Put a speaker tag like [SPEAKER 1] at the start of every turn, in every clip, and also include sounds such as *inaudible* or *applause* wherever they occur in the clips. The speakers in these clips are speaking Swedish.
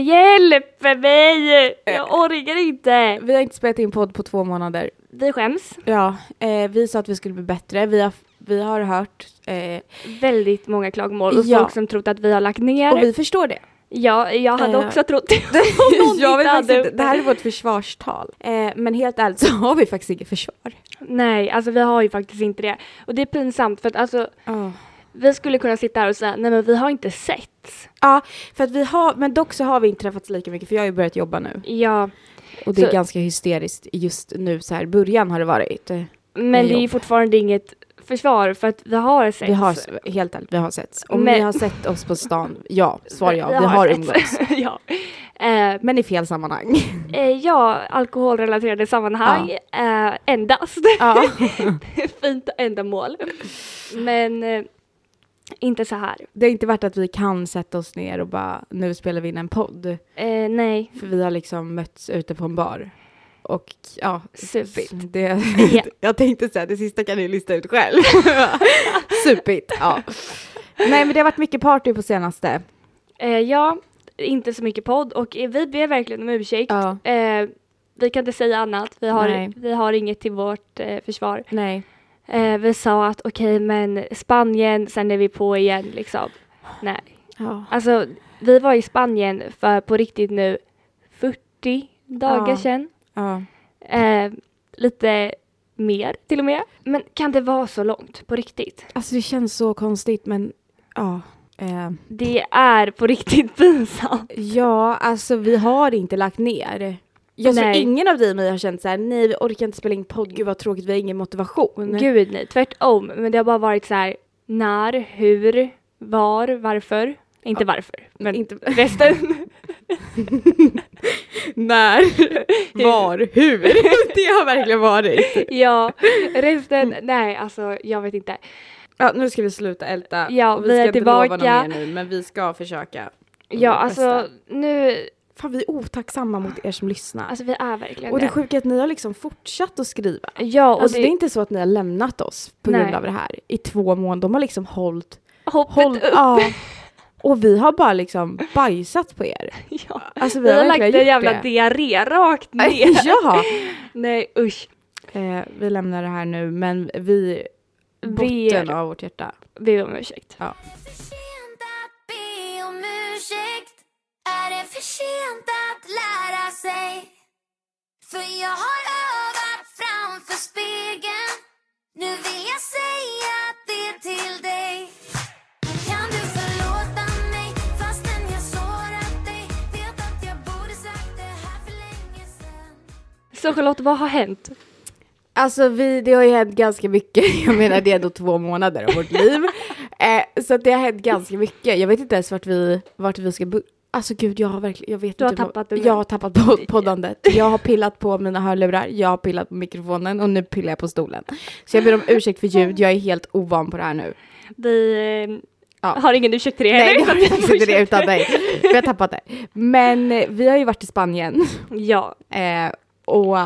[SPEAKER 1] Hjälp mig! Jag orkar inte.
[SPEAKER 2] Vi har inte spelat in podd på två månader.
[SPEAKER 1] Vi skäms
[SPEAKER 2] Ja, eh, vi sa att vi skulle bli bättre. Vi har, vi har hört eh,
[SPEAKER 1] väldigt många klagomål och
[SPEAKER 2] Ja.
[SPEAKER 1] folk som trott att vi har lagt ner.
[SPEAKER 2] och vi förstår det.
[SPEAKER 1] Ja, jag hade
[SPEAKER 2] Eh.
[SPEAKER 1] också trott
[SPEAKER 2] *laughs*
[SPEAKER 1] det. om någon
[SPEAKER 2] jag vet
[SPEAKER 1] inte
[SPEAKER 2] faktiskt
[SPEAKER 1] hade-
[SPEAKER 2] inte, det här är vårt försvarstal. Eh, men helt ärligt så *laughs* har vi faktiskt inget försvar.
[SPEAKER 1] Nej, alltså vi har ju faktiskt inte det. Och det är pinsamt för att alltså vi skulle kunna sitta här och säga nej men vi har inte sett.
[SPEAKER 2] Ja, för att vi har, men dock så har vi inte träffats lika mycket för jag har ju börjat jobba nu.
[SPEAKER 1] Ja,
[SPEAKER 2] Och det är
[SPEAKER 1] Så-
[SPEAKER 2] ganska hysteriskt just nu så här, början har det varit. Eh,
[SPEAKER 1] men det är ju
[SPEAKER 2] jobb.
[SPEAKER 1] fortfarande inget försvar för att vi har sett.
[SPEAKER 2] Vi har, helt ärligt, vi har setts. Om
[SPEAKER 1] Men-
[SPEAKER 2] ni har sett oss på stan, ja, svar ja, vi har
[SPEAKER 1] sett.
[SPEAKER 2] umgåtts.
[SPEAKER 1] *laughs* ja. Eh,
[SPEAKER 2] Men i fel sammanhang.
[SPEAKER 1] eh, *laughs* ja, alkoholrelaterade sammanhang eh, endast.
[SPEAKER 2] ja.
[SPEAKER 1] Fint ändamål. Men eh, inte så här.
[SPEAKER 2] Det har inte varit att vi kan sätta oss ner och bara nu spelar vi in en podd.
[SPEAKER 1] Eh, nej,
[SPEAKER 2] För vi har liksom mötts ute på en bar. Och ja,
[SPEAKER 1] supigt.
[SPEAKER 2] det, *laughs* jag tänkte säga det sista kan ni lista ut själv. *laughs* Supigt, ja. Nej men det har varit mycket party på senaste.
[SPEAKER 1] Eh, ja, inte så mycket podd och eh, vi ber verkligen om ursäkt.
[SPEAKER 2] Ja.
[SPEAKER 1] Eh, vi kan inte säga annat. Vi har,
[SPEAKER 2] Nej.
[SPEAKER 1] vi har inget till vårt eh, försvar.
[SPEAKER 2] Nej.
[SPEAKER 1] Eh, vi sa att okej, men Spanien, sen är vi på igen liksom. Nej,
[SPEAKER 2] Ja.
[SPEAKER 1] alltså vi var i Spanien för på riktigt nu 40 dagar
[SPEAKER 2] Ja.
[SPEAKER 1] sedan.
[SPEAKER 2] ja.
[SPEAKER 1] Eh, lite mer till och med. Men kan det vara så långt på riktigt?
[SPEAKER 2] Alltså det känns så konstigt men ja. Eh,
[SPEAKER 1] Det är på riktigt *laughs* pinsamt.
[SPEAKER 2] ja, alltså vi har inte lagt ner. Jag tror
[SPEAKER 1] Nej.
[SPEAKER 2] ingen av dig och mig har känt så här, nej vi orkar inte spela in podd, gud vad tråkigt, vi har ingen motivation.
[SPEAKER 1] Gud nej, tvärtom. Men det har bara varit så här när, hur, var, varför. Inte varför, men
[SPEAKER 2] Inte- *laughs*
[SPEAKER 1] resten.
[SPEAKER 2] När, var, *laughs* hur? *laughs* Det har verkligen *laughs* varit.
[SPEAKER 1] ja, resten. Nej, alltså jag vet inte.
[SPEAKER 2] Ja, nu ska vi sluta älta.
[SPEAKER 1] Ja,
[SPEAKER 2] Och vi
[SPEAKER 1] vi
[SPEAKER 2] ska
[SPEAKER 1] är
[SPEAKER 2] inte lova något
[SPEAKER 1] tillbaka.
[SPEAKER 2] mer nu, men vi ska försöka.
[SPEAKER 1] Ja,
[SPEAKER 2] vårt
[SPEAKER 1] alltså
[SPEAKER 2] bästa.
[SPEAKER 1] nu,
[SPEAKER 2] Fan, vi är otacksamma mot er som lyssnar.
[SPEAKER 1] alltså vi är verkligen
[SPEAKER 2] och det sjuka är att ni har liksom fortsatt att skriva.
[SPEAKER 1] Ja, och
[SPEAKER 2] Alltså, det...
[SPEAKER 1] det,
[SPEAKER 2] är inte så att ni har lämnat oss på grund
[SPEAKER 1] Nej.
[SPEAKER 2] av det här i två månader. De har liksom hållit...
[SPEAKER 1] hoppet
[SPEAKER 2] hållit *laughs*
[SPEAKER 1] upp.
[SPEAKER 2] ja. Och vi har bara liksom bajsat på er.
[SPEAKER 1] Ja.
[SPEAKER 2] Alltså vi,
[SPEAKER 1] Vi har lagt en
[SPEAKER 2] verkligen gjort
[SPEAKER 1] jävla
[SPEAKER 2] det.
[SPEAKER 1] diarré rakt ner.
[SPEAKER 2] *laughs* ja!
[SPEAKER 1] Nej usch.
[SPEAKER 2] Eh, vi lämnar det här nu, men vi... Botten
[SPEAKER 1] Ber,
[SPEAKER 2] av vårt hjärta.
[SPEAKER 1] ber om ursäkt.
[SPEAKER 3] Är det för sent att be om ursäkt? Är det för sent att lära sig? För jag har övat framför spegeln Nu vill jag säga det till dig Kan du förlåta mig fastän jag sårat dig? Vet att jag borde sagt det här för länge sen
[SPEAKER 1] Så Charlotte, vad har hänt?
[SPEAKER 2] Alltså vi, det har ju hänt ganska mycket. *laughs* Jag menar det är då två månader av vårt liv. Eh, så att det har hänt ganska mycket. Jag vet inte ens vart vi, vart vi ska börja. Alltså gud, jag har verkligen, jag vet
[SPEAKER 1] Du har
[SPEAKER 2] inte. hur må-
[SPEAKER 1] tappat det nu.
[SPEAKER 2] Jag har tappat
[SPEAKER 1] *laughs*
[SPEAKER 2] pod- poddandet. Jag har pillat på mina hörlurar, jag har pillat på mikrofonen och nu pillar jag på stolen. Så jag ber om ursäkt för ljud, jag är helt ovan på det här nu.
[SPEAKER 1] Vi eh,
[SPEAKER 2] Ja.
[SPEAKER 1] har ingen ursäkt till det
[SPEAKER 2] Nej,
[SPEAKER 1] heller.
[SPEAKER 2] jag har faktiskt
[SPEAKER 1] *laughs*
[SPEAKER 2] inte det utan dig. Vi har tappat det. Men eh, vi har ju varit i Spanien
[SPEAKER 1] Ja,
[SPEAKER 2] eh, och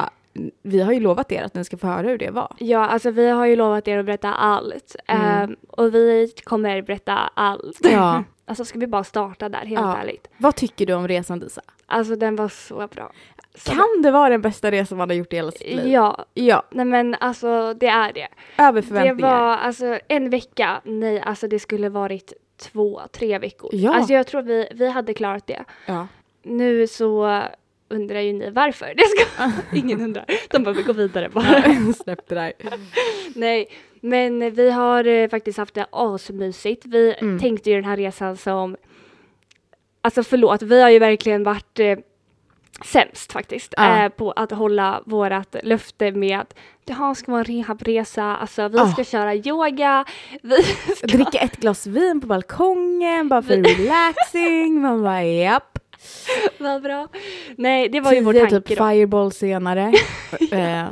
[SPEAKER 2] vi har ju lovat er att ni ska få höra hur
[SPEAKER 1] *laughs*
[SPEAKER 2] det var.
[SPEAKER 1] ja, alltså vi har ju lovat er att berätta allt
[SPEAKER 2] Mm.
[SPEAKER 1] Ehm, och vi kommer berätta allt.
[SPEAKER 2] Ja.
[SPEAKER 1] *laughs* Alltså ska vi bara starta där helt
[SPEAKER 2] Ja.
[SPEAKER 1] ärligt.
[SPEAKER 2] Vad tycker du om resan Disa?
[SPEAKER 1] Alltså den var så bra. Så
[SPEAKER 2] Kan det vara den bästa resan man har gjort i hela sitt liv?
[SPEAKER 1] Ja,
[SPEAKER 2] Ja,
[SPEAKER 1] nej men alltså det är det.
[SPEAKER 2] över
[SPEAKER 1] Det
[SPEAKER 2] förväntningar.
[SPEAKER 1] var alltså en vecka, nej alltså det skulle varit två, tre veckor.
[SPEAKER 2] Ja.
[SPEAKER 1] Alltså jag tror vi, vi hade klarat det.
[SPEAKER 2] *laughs* Ja.
[SPEAKER 1] Nu så undrar ju ni varför. *laughs* Det ska
[SPEAKER 2] *laughs*
[SPEAKER 1] ingen undra. De bara vi går vidare bara.
[SPEAKER 2] Släpp det där.
[SPEAKER 1] Nej, men vi har eh, faktiskt haft det asmysigt. Vi
[SPEAKER 2] Mm.
[SPEAKER 1] tänkte ju den här resan som... Alltså förlåt, vi har ju verkligen varit eh, sämst faktiskt
[SPEAKER 2] Ja.
[SPEAKER 1] eh, på att hålla vårat löfte med att det här ska vara en rehabresa, alltså vi
[SPEAKER 2] Ja.
[SPEAKER 1] ska köra yoga, *laughs* vi ska...
[SPEAKER 2] Dricka ett glas vin på balkongen bara *laughs* för relaxing. Man bara japp.
[SPEAKER 1] Vad bra. Nej, det var ju vår
[SPEAKER 2] Tio
[SPEAKER 1] tanke
[SPEAKER 2] typ
[SPEAKER 1] då.
[SPEAKER 2] fireball *laughs* senare. eh,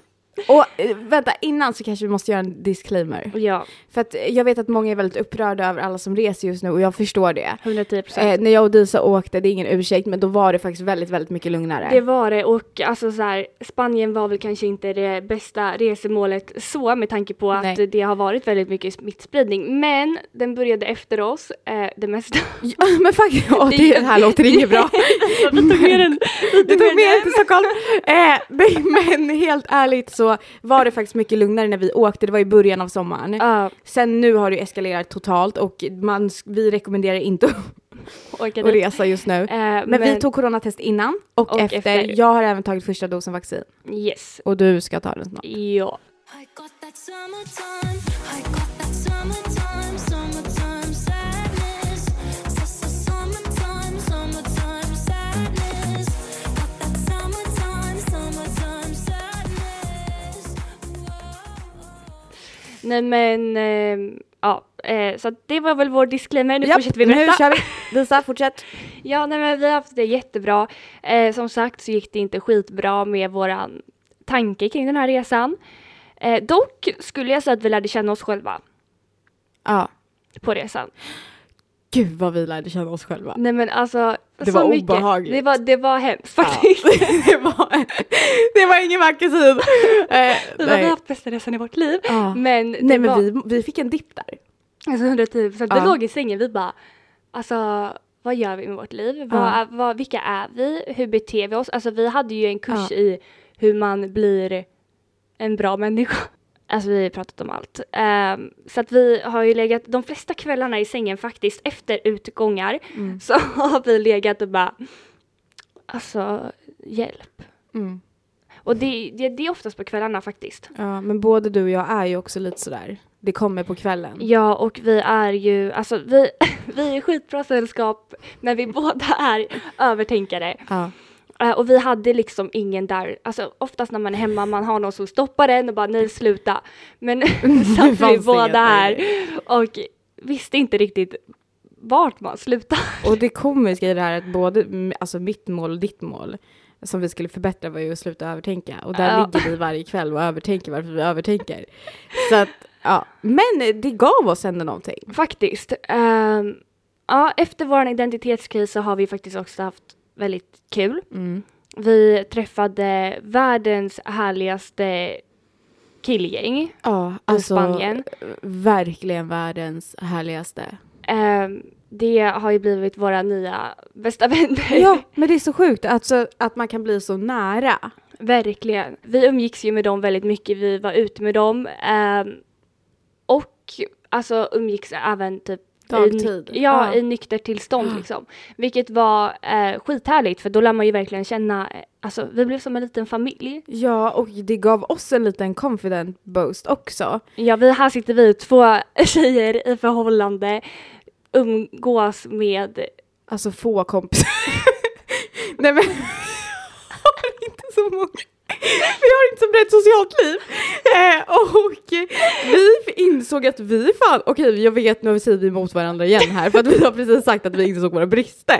[SPEAKER 2] och eh, vänta, innan så kanske vi måste göra en disclaimer.
[SPEAKER 1] Ja,
[SPEAKER 2] För att eh, jag vet att många är väldigt upprörda över alla som reser just nu och jag förstår det.
[SPEAKER 1] 110 procent.
[SPEAKER 2] Eh, när jag och Disa åkte, det är ingen ursäkt, men då var det faktiskt väldigt, väldigt mycket lugnare.
[SPEAKER 1] Det var det och alltså så här, Spanien var väl kanske inte det bästa resemålet så med tanke på att
[SPEAKER 2] Nej.
[SPEAKER 1] det har varit väldigt mycket smittspridning. Men
[SPEAKER 2] *laughs*
[SPEAKER 1] den började efter oss, eh, det mesta. *laughs*
[SPEAKER 2] Ja, men faktiskt, ja, det, det här låter inget bra.
[SPEAKER 1] Stockholm. Vi tog med den.
[SPEAKER 2] Du tog med er
[SPEAKER 1] den.
[SPEAKER 2] till Stockholm. Eh, nej, *laughs* men helt ärligt så var det faktiskt mycket lugnare när vi åkte. Det var i början av sommaren.
[SPEAKER 1] *laughs* Ja,
[SPEAKER 2] Sen nu har det ju eskalerat totalt och man, vi rekommenderar inte att
[SPEAKER 1] åka dit.
[SPEAKER 2] resa just nu.
[SPEAKER 1] Eh,
[SPEAKER 2] Men, vi tog coronatest innan och,
[SPEAKER 1] Och
[SPEAKER 2] efter.
[SPEAKER 1] efter.
[SPEAKER 2] Jag har även tagit första dosen vaccin
[SPEAKER 1] Yes.
[SPEAKER 2] och du ska ta den snart.
[SPEAKER 1] Ja.
[SPEAKER 3] I got that summertime, I got that summertime, summertime sadness. Summertime, summertime sadness. Got that summertime, summertime sadness.
[SPEAKER 1] Nej men, ehm, ja. eh, så att det var väl vår disclaimer. Nu
[SPEAKER 2] Japp,
[SPEAKER 1] fortsätter vi
[SPEAKER 2] nu
[SPEAKER 1] berätta.
[SPEAKER 2] kör vi. Lisa, fortsätt.
[SPEAKER 1] *laughs* Ja, nej, men vi har haft det jättebra. Eh, som sagt så gick det inte skitbra med våran tanke kring den här resan. Eh, dock skulle jag säga att vi lärde känna oss själva
[SPEAKER 2] Ja.
[SPEAKER 1] på resan.
[SPEAKER 2] Gud vad vi lärde känna oss själva.
[SPEAKER 1] Nej men alltså.
[SPEAKER 2] Det
[SPEAKER 1] så
[SPEAKER 2] var
[SPEAKER 1] mycket.
[SPEAKER 2] obehagligt.
[SPEAKER 1] Det var, det var hemskt
[SPEAKER 2] Ja.
[SPEAKER 1] faktiskt.
[SPEAKER 2] *laughs* det, var, det var ingen vacker syn. Eh,
[SPEAKER 1] Vi har
[SPEAKER 2] nej.
[SPEAKER 1] haft bästa resan i vårt liv.
[SPEAKER 2] Ja.
[SPEAKER 1] Men, det
[SPEAKER 2] nej men
[SPEAKER 1] var,
[SPEAKER 2] vi, vi fick en dipp där.
[SPEAKER 1] Alltså 110 procent.
[SPEAKER 2] Ja.
[SPEAKER 1] Vi låg i sängen, vi bara alltså vad gör vi med vårt liv? Vad,
[SPEAKER 2] Ja.
[SPEAKER 1] vad, vilka är vi? Hur beter vi oss? Alltså vi hade ju en kurs
[SPEAKER 2] Ja.
[SPEAKER 1] i hur man blir en bra människa. *laughs* Alltså vi har pratat om allt. Ehm, så att vi har ju legat de flesta kvällarna i sängen faktiskt efter utgångar *laughs*
[SPEAKER 2] Mm.
[SPEAKER 1] så har vi legat och bara alltså hjälp. Mm. Och det, det, det är oftast på kvällarna faktiskt.
[SPEAKER 2] Ja, men både du och jag är ju också lite sådär. Det kommer på kvällen.
[SPEAKER 1] Ja, och vi är ju, alltså vi, *laughs* vi är skitbra sällskap, men vi *laughs* båda är övertänkare.
[SPEAKER 2] Ja.
[SPEAKER 1] Eh, och vi hade liksom ingen där, alltså oftast när man är hemma, man har någon som stoppar en och bara nej sluta. Men *laughs* satt vi
[SPEAKER 2] fanns inget
[SPEAKER 1] båda här
[SPEAKER 2] längre.
[SPEAKER 1] och visste inte riktigt vart man slutar.
[SPEAKER 2] Och det komiska i det här är att både m- alltså mitt mål och ditt mål som vi skulle förbättra var ju att sluta övertänka. Och där
[SPEAKER 1] Ja.
[SPEAKER 2] ligger vi varje kväll och övertänker varför vi övertänker. Så att, ja. Men det gav oss ändå någonting.
[SPEAKER 1] Faktiskt. Ehm, ja, efter vår identitetskris så har vi faktiskt också haft väldigt kul. Vi träffade världens härligaste killgäng.
[SPEAKER 2] Ja, alltså
[SPEAKER 1] Spanien.
[SPEAKER 2] verkligen världens härligaste.
[SPEAKER 1] Ehm, det har ju blivit våra nya bästa vänner.
[SPEAKER 2] *laughs* Ja, men det är så sjukt alltså, att man kan bli så nära.
[SPEAKER 1] Verkligen. Vi umgicks ju med dem väldigt mycket, vi var ute med dem. ehm, och alltså umgicks även typ I,
[SPEAKER 2] Dagtid.
[SPEAKER 1] nyk- ja,
[SPEAKER 2] Ja.
[SPEAKER 1] i nykter tillstånd liksom. Vilket var eh, skithärligt för då lär man ju verkligen känna, eh, alltså vi blev som en liten familj.
[SPEAKER 2] Ja, och det gav oss en liten confident boost också.
[SPEAKER 1] Ja, vi, här sitter vi två *laughs* tjejer i förhållande, umgås med
[SPEAKER 2] Alltså få kompisar. *laughs* Nej men, *laughs* jag har inte så många. Vi har inte så brett socialt liv. Eh, och vi insåg att vi fan, okej jag vet nu säger vi emot varandra igen här för att vi har precis sagt att vi insåg våra brister.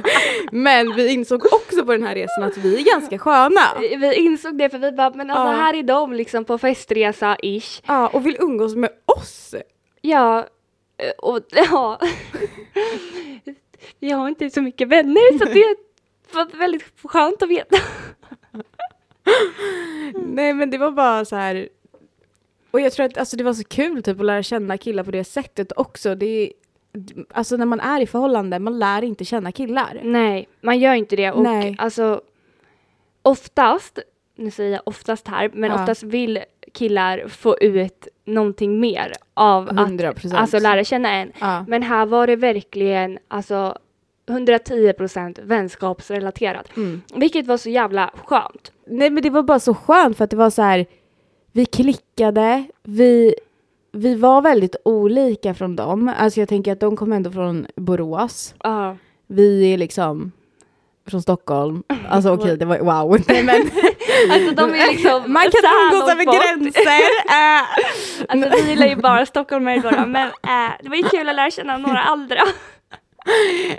[SPEAKER 2] *laughs* men vi insåg också på den här resan att vi är ganska sköna.
[SPEAKER 1] eh, Vi insåg det för vi bara, men alltså
[SPEAKER 2] Ja.
[SPEAKER 1] här är de liksom på festresa-ish.
[SPEAKER 2] Ja, och vill umgås med oss.
[SPEAKER 1] Ja, eh, och *laughs* ja. Vi har inte så mycket vänner så *laughs* det var väldigt skönt att veta.
[SPEAKER 2] Nej men det var bara så här. Mm. Och jag tror att alltså, det var så kul typ, att lära känna killar på det sättet också. Det är, alltså när man är i förhållande, man lär inte känna killar.
[SPEAKER 1] Nej, man gör inte det och
[SPEAKER 2] Nej.
[SPEAKER 1] alltså oftast, nu säger jag oftast här, men
[SPEAKER 2] Ja.
[SPEAKER 1] oftast vill killar få ut någonting mer av att
[SPEAKER 2] 100%.
[SPEAKER 1] alltså, lära känna en.
[SPEAKER 2] Ja.
[SPEAKER 1] Men här var det verkligen alltså 110 procent vänskapsrelaterat. Vilket var så jävla skönt.
[SPEAKER 2] Nej men det var bara så skönt för att det var så här, vi klickade, vi, vi var väldigt olika från dem. Alltså jag tänker att de kom ändå från Borås.
[SPEAKER 1] Ja.
[SPEAKER 2] Vi är liksom från Stockholm. Alltså okej, *laughs* det var wow. Nej, men,
[SPEAKER 1] Alltså *laughs* de är liksom
[SPEAKER 2] man
[SPEAKER 1] så
[SPEAKER 2] kan
[SPEAKER 1] här
[SPEAKER 2] umgås
[SPEAKER 1] långt
[SPEAKER 2] över
[SPEAKER 1] bort.
[SPEAKER 2] *laughs* gränser. Eh.
[SPEAKER 1] Alltså vi gillar ju bara stockholmare *laughs* bara men eh, det var ju kul att lära känna några andra.
[SPEAKER 4] *laughs*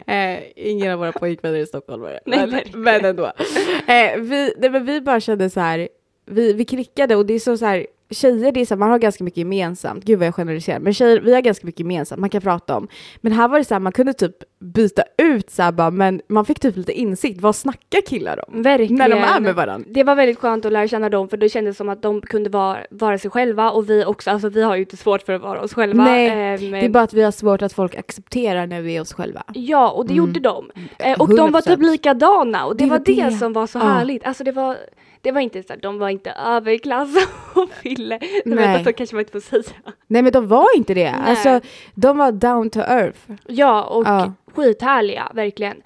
[SPEAKER 2] Eh, ingen av våra pojkvänner är stockholmare.
[SPEAKER 1] Nej,
[SPEAKER 2] men,
[SPEAKER 1] verkligen.
[SPEAKER 2] men ändå. Eh, vi, nej, men vi bara kände så här, vi, vi klickade och det är så, så här,
[SPEAKER 4] tjejer, det är så här, man har ganska mycket gemensamt. Gud vad jag generaliserar. Men tjejer, vi har ganska mycket gemensamt, man kan prata om. Men här var det så här, man kunde typ byta ut så här, bara, men man fick typ lite insikt. Vad snackar killar om?
[SPEAKER 1] Verkligen.
[SPEAKER 4] När de är med varandra.
[SPEAKER 1] Det var väldigt skönt att lära känna dem för det kändes som att de kunde vara, vara sig själva och vi också, alltså vi har ju inte svårt för att vara oss själva.
[SPEAKER 4] Nej,
[SPEAKER 1] Ehm,
[SPEAKER 2] Det är bara att vi har svårt att folk accepterar när vi är oss själva.
[SPEAKER 1] Ja, och det
[SPEAKER 2] Mm.
[SPEAKER 1] gjorde de. Eh, och de var
[SPEAKER 2] 100%.
[SPEAKER 1] typ likadana och det,
[SPEAKER 2] Det
[SPEAKER 1] var
[SPEAKER 2] var
[SPEAKER 1] det,
[SPEAKER 2] det.
[SPEAKER 1] som var så
[SPEAKER 2] Ja.
[SPEAKER 1] härligt. Alltså det var, det var inte så att de var inte överklass *laughs* och ville. Nej.
[SPEAKER 2] Nej.
[SPEAKER 1] Vänta, så kanske man inte får säga.
[SPEAKER 2] Nej men de var inte det.
[SPEAKER 1] Nej.
[SPEAKER 2] Alltså, de var down to earth.
[SPEAKER 1] Ja, och
[SPEAKER 2] Ja.
[SPEAKER 1] skithärliga, verkligen.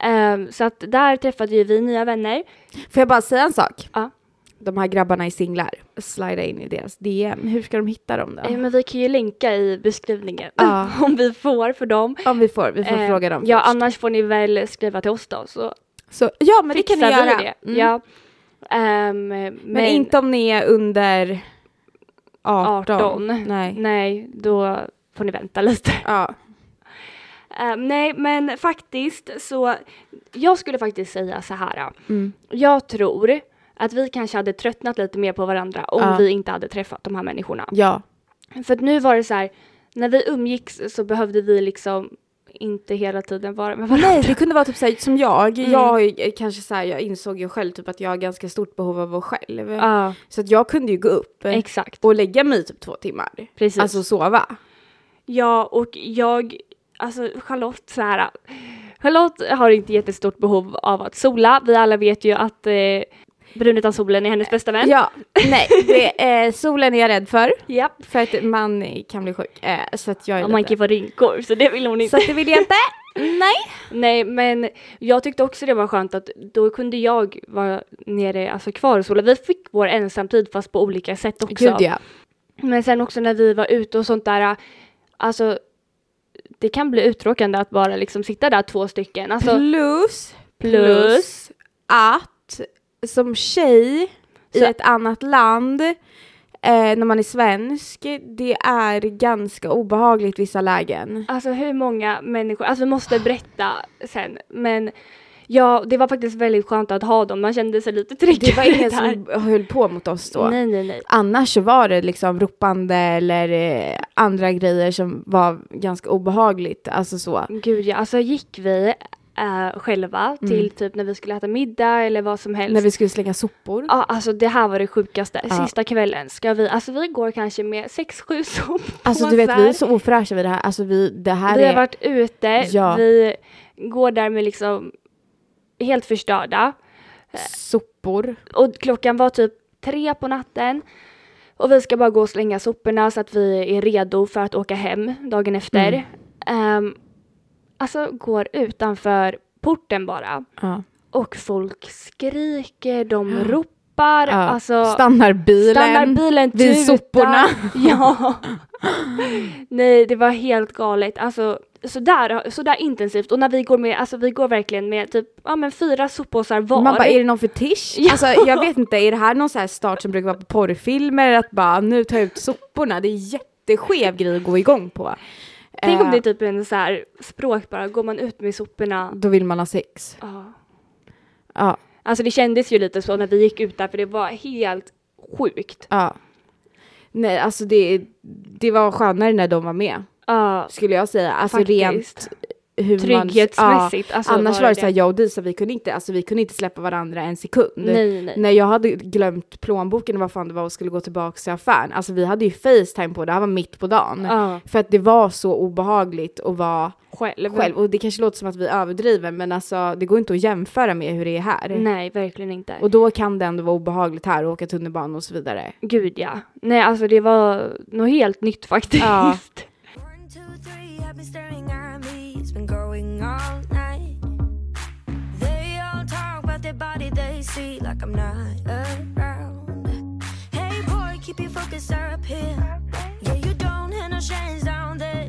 [SPEAKER 1] Ehm, så att där träffade ju vi nya vänner.
[SPEAKER 2] Får jag bara säga en sak?
[SPEAKER 1] Ja.
[SPEAKER 2] De här grabbarna i singlar, slida in i deras DM. Hur ska de hitta dem då?
[SPEAKER 1] Eh, men vi kan ju länka i beskrivningen
[SPEAKER 2] Ja.
[SPEAKER 1] *laughs* om vi får för dem.
[SPEAKER 2] Om vi får, vi får
[SPEAKER 1] Eh,
[SPEAKER 2] fråga dem
[SPEAKER 1] Ja,
[SPEAKER 2] först.
[SPEAKER 1] annars får ni väl skriva till oss då så
[SPEAKER 2] Så, ja men det kan
[SPEAKER 1] fixar
[SPEAKER 2] ni
[SPEAKER 1] vi
[SPEAKER 2] göra.
[SPEAKER 1] det.
[SPEAKER 2] Mm.
[SPEAKER 1] Ja. Ehm,
[SPEAKER 2] Men, inte om ni är under 18.
[SPEAKER 1] 18.
[SPEAKER 2] Nej.
[SPEAKER 1] Nej, då får ni vänta lite.
[SPEAKER 2] Ja.
[SPEAKER 1] Ehm, nej, men faktiskt så, jag skulle faktiskt säga så här.
[SPEAKER 2] Mm.
[SPEAKER 1] Jag tror att vi kanske hade tröttnat lite mer på varandra om
[SPEAKER 2] Ja.
[SPEAKER 1] vi inte hade träffat de här människorna.
[SPEAKER 2] ja.
[SPEAKER 1] För att nu var det så här, när vi umgicks så behövde vi liksom inte hela tiden vara med varandra.
[SPEAKER 2] Nej, det kunde vara typ såhär, som jag.
[SPEAKER 1] Mm.
[SPEAKER 2] Jag, har ju, eh, kanske såhär, jag insåg ju själv typ att jag har ganska stort behov av att vara själv.
[SPEAKER 1] Ja,
[SPEAKER 2] Så att jag kunde ju gå upp eh,
[SPEAKER 1] exakt.
[SPEAKER 2] och lägga mig i typ två timmar.
[SPEAKER 1] Precis.
[SPEAKER 2] Alltså sova.
[SPEAKER 1] Ja, och jag, alltså Charlotte så här. Charlotte har inte jättestort behov av att sola. Vi alla vet ju att eh, brun utan solen är hennes bästa vän.
[SPEAKER 2] Ja, nej, det, eh, solen är jag rädd för.
[SPEAKER 1] Japp.
[SPEAKER 2] För att man eh, kan bli sjuk. Eh, så att jag är
[SPEAKER 1] Och man
[SPEAKER 2] lite-
[SPEAKER 1] kan få rynkor, så det vill hon
[SPEAKER 2] Så
[SPEAKER 1] inte.
[SPEAKER 2] att det vill jag *laughs* inte. Nej.
[SPEAKER 1] Nej, men jag tyckte också det var skönt att då kunde jag vara nere, alltså kvar och sola. Vi fick vår ensamtid fast på olika sätt också.
[SPEAKER 2] Gud ja.
[SPEAKER 1] Men sen också när vi var ute och sånt där, alltså det kan bli uttråkande att bara liksom sitta där två stycken. Alltså,
[SPEAKER 2] Plus,
[SPEAKER 1] Plus.
[SPEAKER 2] plus att som tjej i
[SPEAKER 1] Så-
[SPEAKER 2] ett annat land eh, när man är svensk, det är ganska obehagligt vissa lägen.
[SPEAKER 1] Alltså hur många människor, alltså vi måste berätta sen, men ja, det var faktiskt väldigt skönt att ha dem, man kände sig lite tryggare
[SPEAKER 2] Det var ingen
[SPEAKER 1] där.
[SPEAKER 2] som höll på mot oss då.
[SPEAKER 1] Nej, nej, nej.
[SPEAKER 2] Annars så var det liksom ropande eller eh, andra grejer som var ganska obehagligt. Alltså så.
[SPEAKER 1] Gud ja, alltså gick vi eh, själva till typ när vi skulle äta middag eller vad som helst.
[SPEAKER 2] Mm. När vi skulle slänga sopor.
[SPEAKER 1] Ja, alltså det här var det sjukaste.
[SPEAKER 2] Ja.
[SPEAKER 1] Sista kvällen ska vi, alltså vi går kanske med sex, sju soppåsar.
[SPEAKER 2] Alltså du vet vi är så ofräscha vid det här. Alltså vi, det här
[SPEAKER 1] Vi har
[SPEAKER 2] är...
[SPEAKER 1] varit ute,
[SPEAKER 2] Ja.
[SPEAKER 1] vi går där med liksom helt förstörda.
[SPEAKER 2] sopor.
[SPEAKER 1] Och klockan var typ tre på natten. Och vi ska bara gå och slänga soporna så att vi är redo för att åka hem dagen efter.
[SPEAKER 2] Mm.
[SPEAKER 1] Ehm, alltså går utanför porten bara.
[SPEAKER 2] Ja.
[SPEAKER 1] Och folk skriker, de ropar.
[SPEAKER 2] Ja.
[SPEAKER 1] Alltså,
[SPEAKER 2] stannar bilen.
[SPEAKER 1] stannar bilen,
[SPEAKER 2] vid
[SPEAKER 1] tutar.
[SPEAKER 2] soporna.
[SPEAKER 1] *laughs* Ja. Nej, det var helt galet. Alltså, så där, så där intensivt. Och när vi går med, alltså vi går verkligen med typ ja, men fyra soppåsar var.
[SPEAKER 2] Man bara, är det någon fetisch?
[SPEAKER 1] Ja.
[SPEAKER 2] Alltså jag vet inte, är det här någon så här start som brukar vara på porrfilmer? Att bara, nu tar jag ut soporna. Det är jätteskev grej att gå igång på.
[SPEAKER 1] Tänk om
[SPEAKER 2] Eh, Mm.
[SPEAKER 1] det är typ en så här språk bara, går man ut med soporna?
[SPEAKER 2] Då vill man ha sex.
[SPEAKER 1] Ja.
[SPEAKER 2] Ja,
[SPEAKER 1] Alltså det kändes ju lite så när vi gick ut där för det var helt sjukt.
[SPEAKER 2] ja. Nej, alltså det, det var skönare när de var med,
[SPEAKER 1] Ja,
[SPEAKER 2] skulle jag säga. Alltså rent
[SPEAKER 1] faktiskt.
[SPEAKER 2] hur man...
[SPEAKER 1] Trygghetsmässigt. alltså,
[SPEAKER 2] Ja, annars var det, så här,
[SPEAKER 1] det.
[SPEAKER 2] jag och Disa, vi kunde inte, alltså vi kunde inte släppa varandra en sekund.
[SPEAKER 1] Nej, nej.
[SPEAKER 2] När jag hade glömt plånboken och vad fan det var och skulle gå tillbaka till affären. Alltså vi hade ju Facetime på, det här var mitt på dagen.
[SPEAKER 1] Ja,
[SPEAKER 2] För att det var så obehagligt att vara
[SPEAKER 1] själv.
[SPEAKER 2] själv. Och det kanske låter som att vi överdriver men alltså det går inte att jämföra med hur det är här.
[SPEAKER 1] Nej, verkligen inte.
[SPEAKER 2] Och då kan det ändå vara obehagligt här och åka tunnelbana och så vidare.
[SPEAKER 1] Gud ja. Nej, alltså det var något helt nytt faktiskt. *laughs*
[SPEAKER 2] Ja.
[SPEAKER 3] One, two, three, I've been staring at me. It's been going all night. They all talk about their body, they see like I'm not around. Hey boy, keep your focus up here. Yeah, you don't have no chance down there.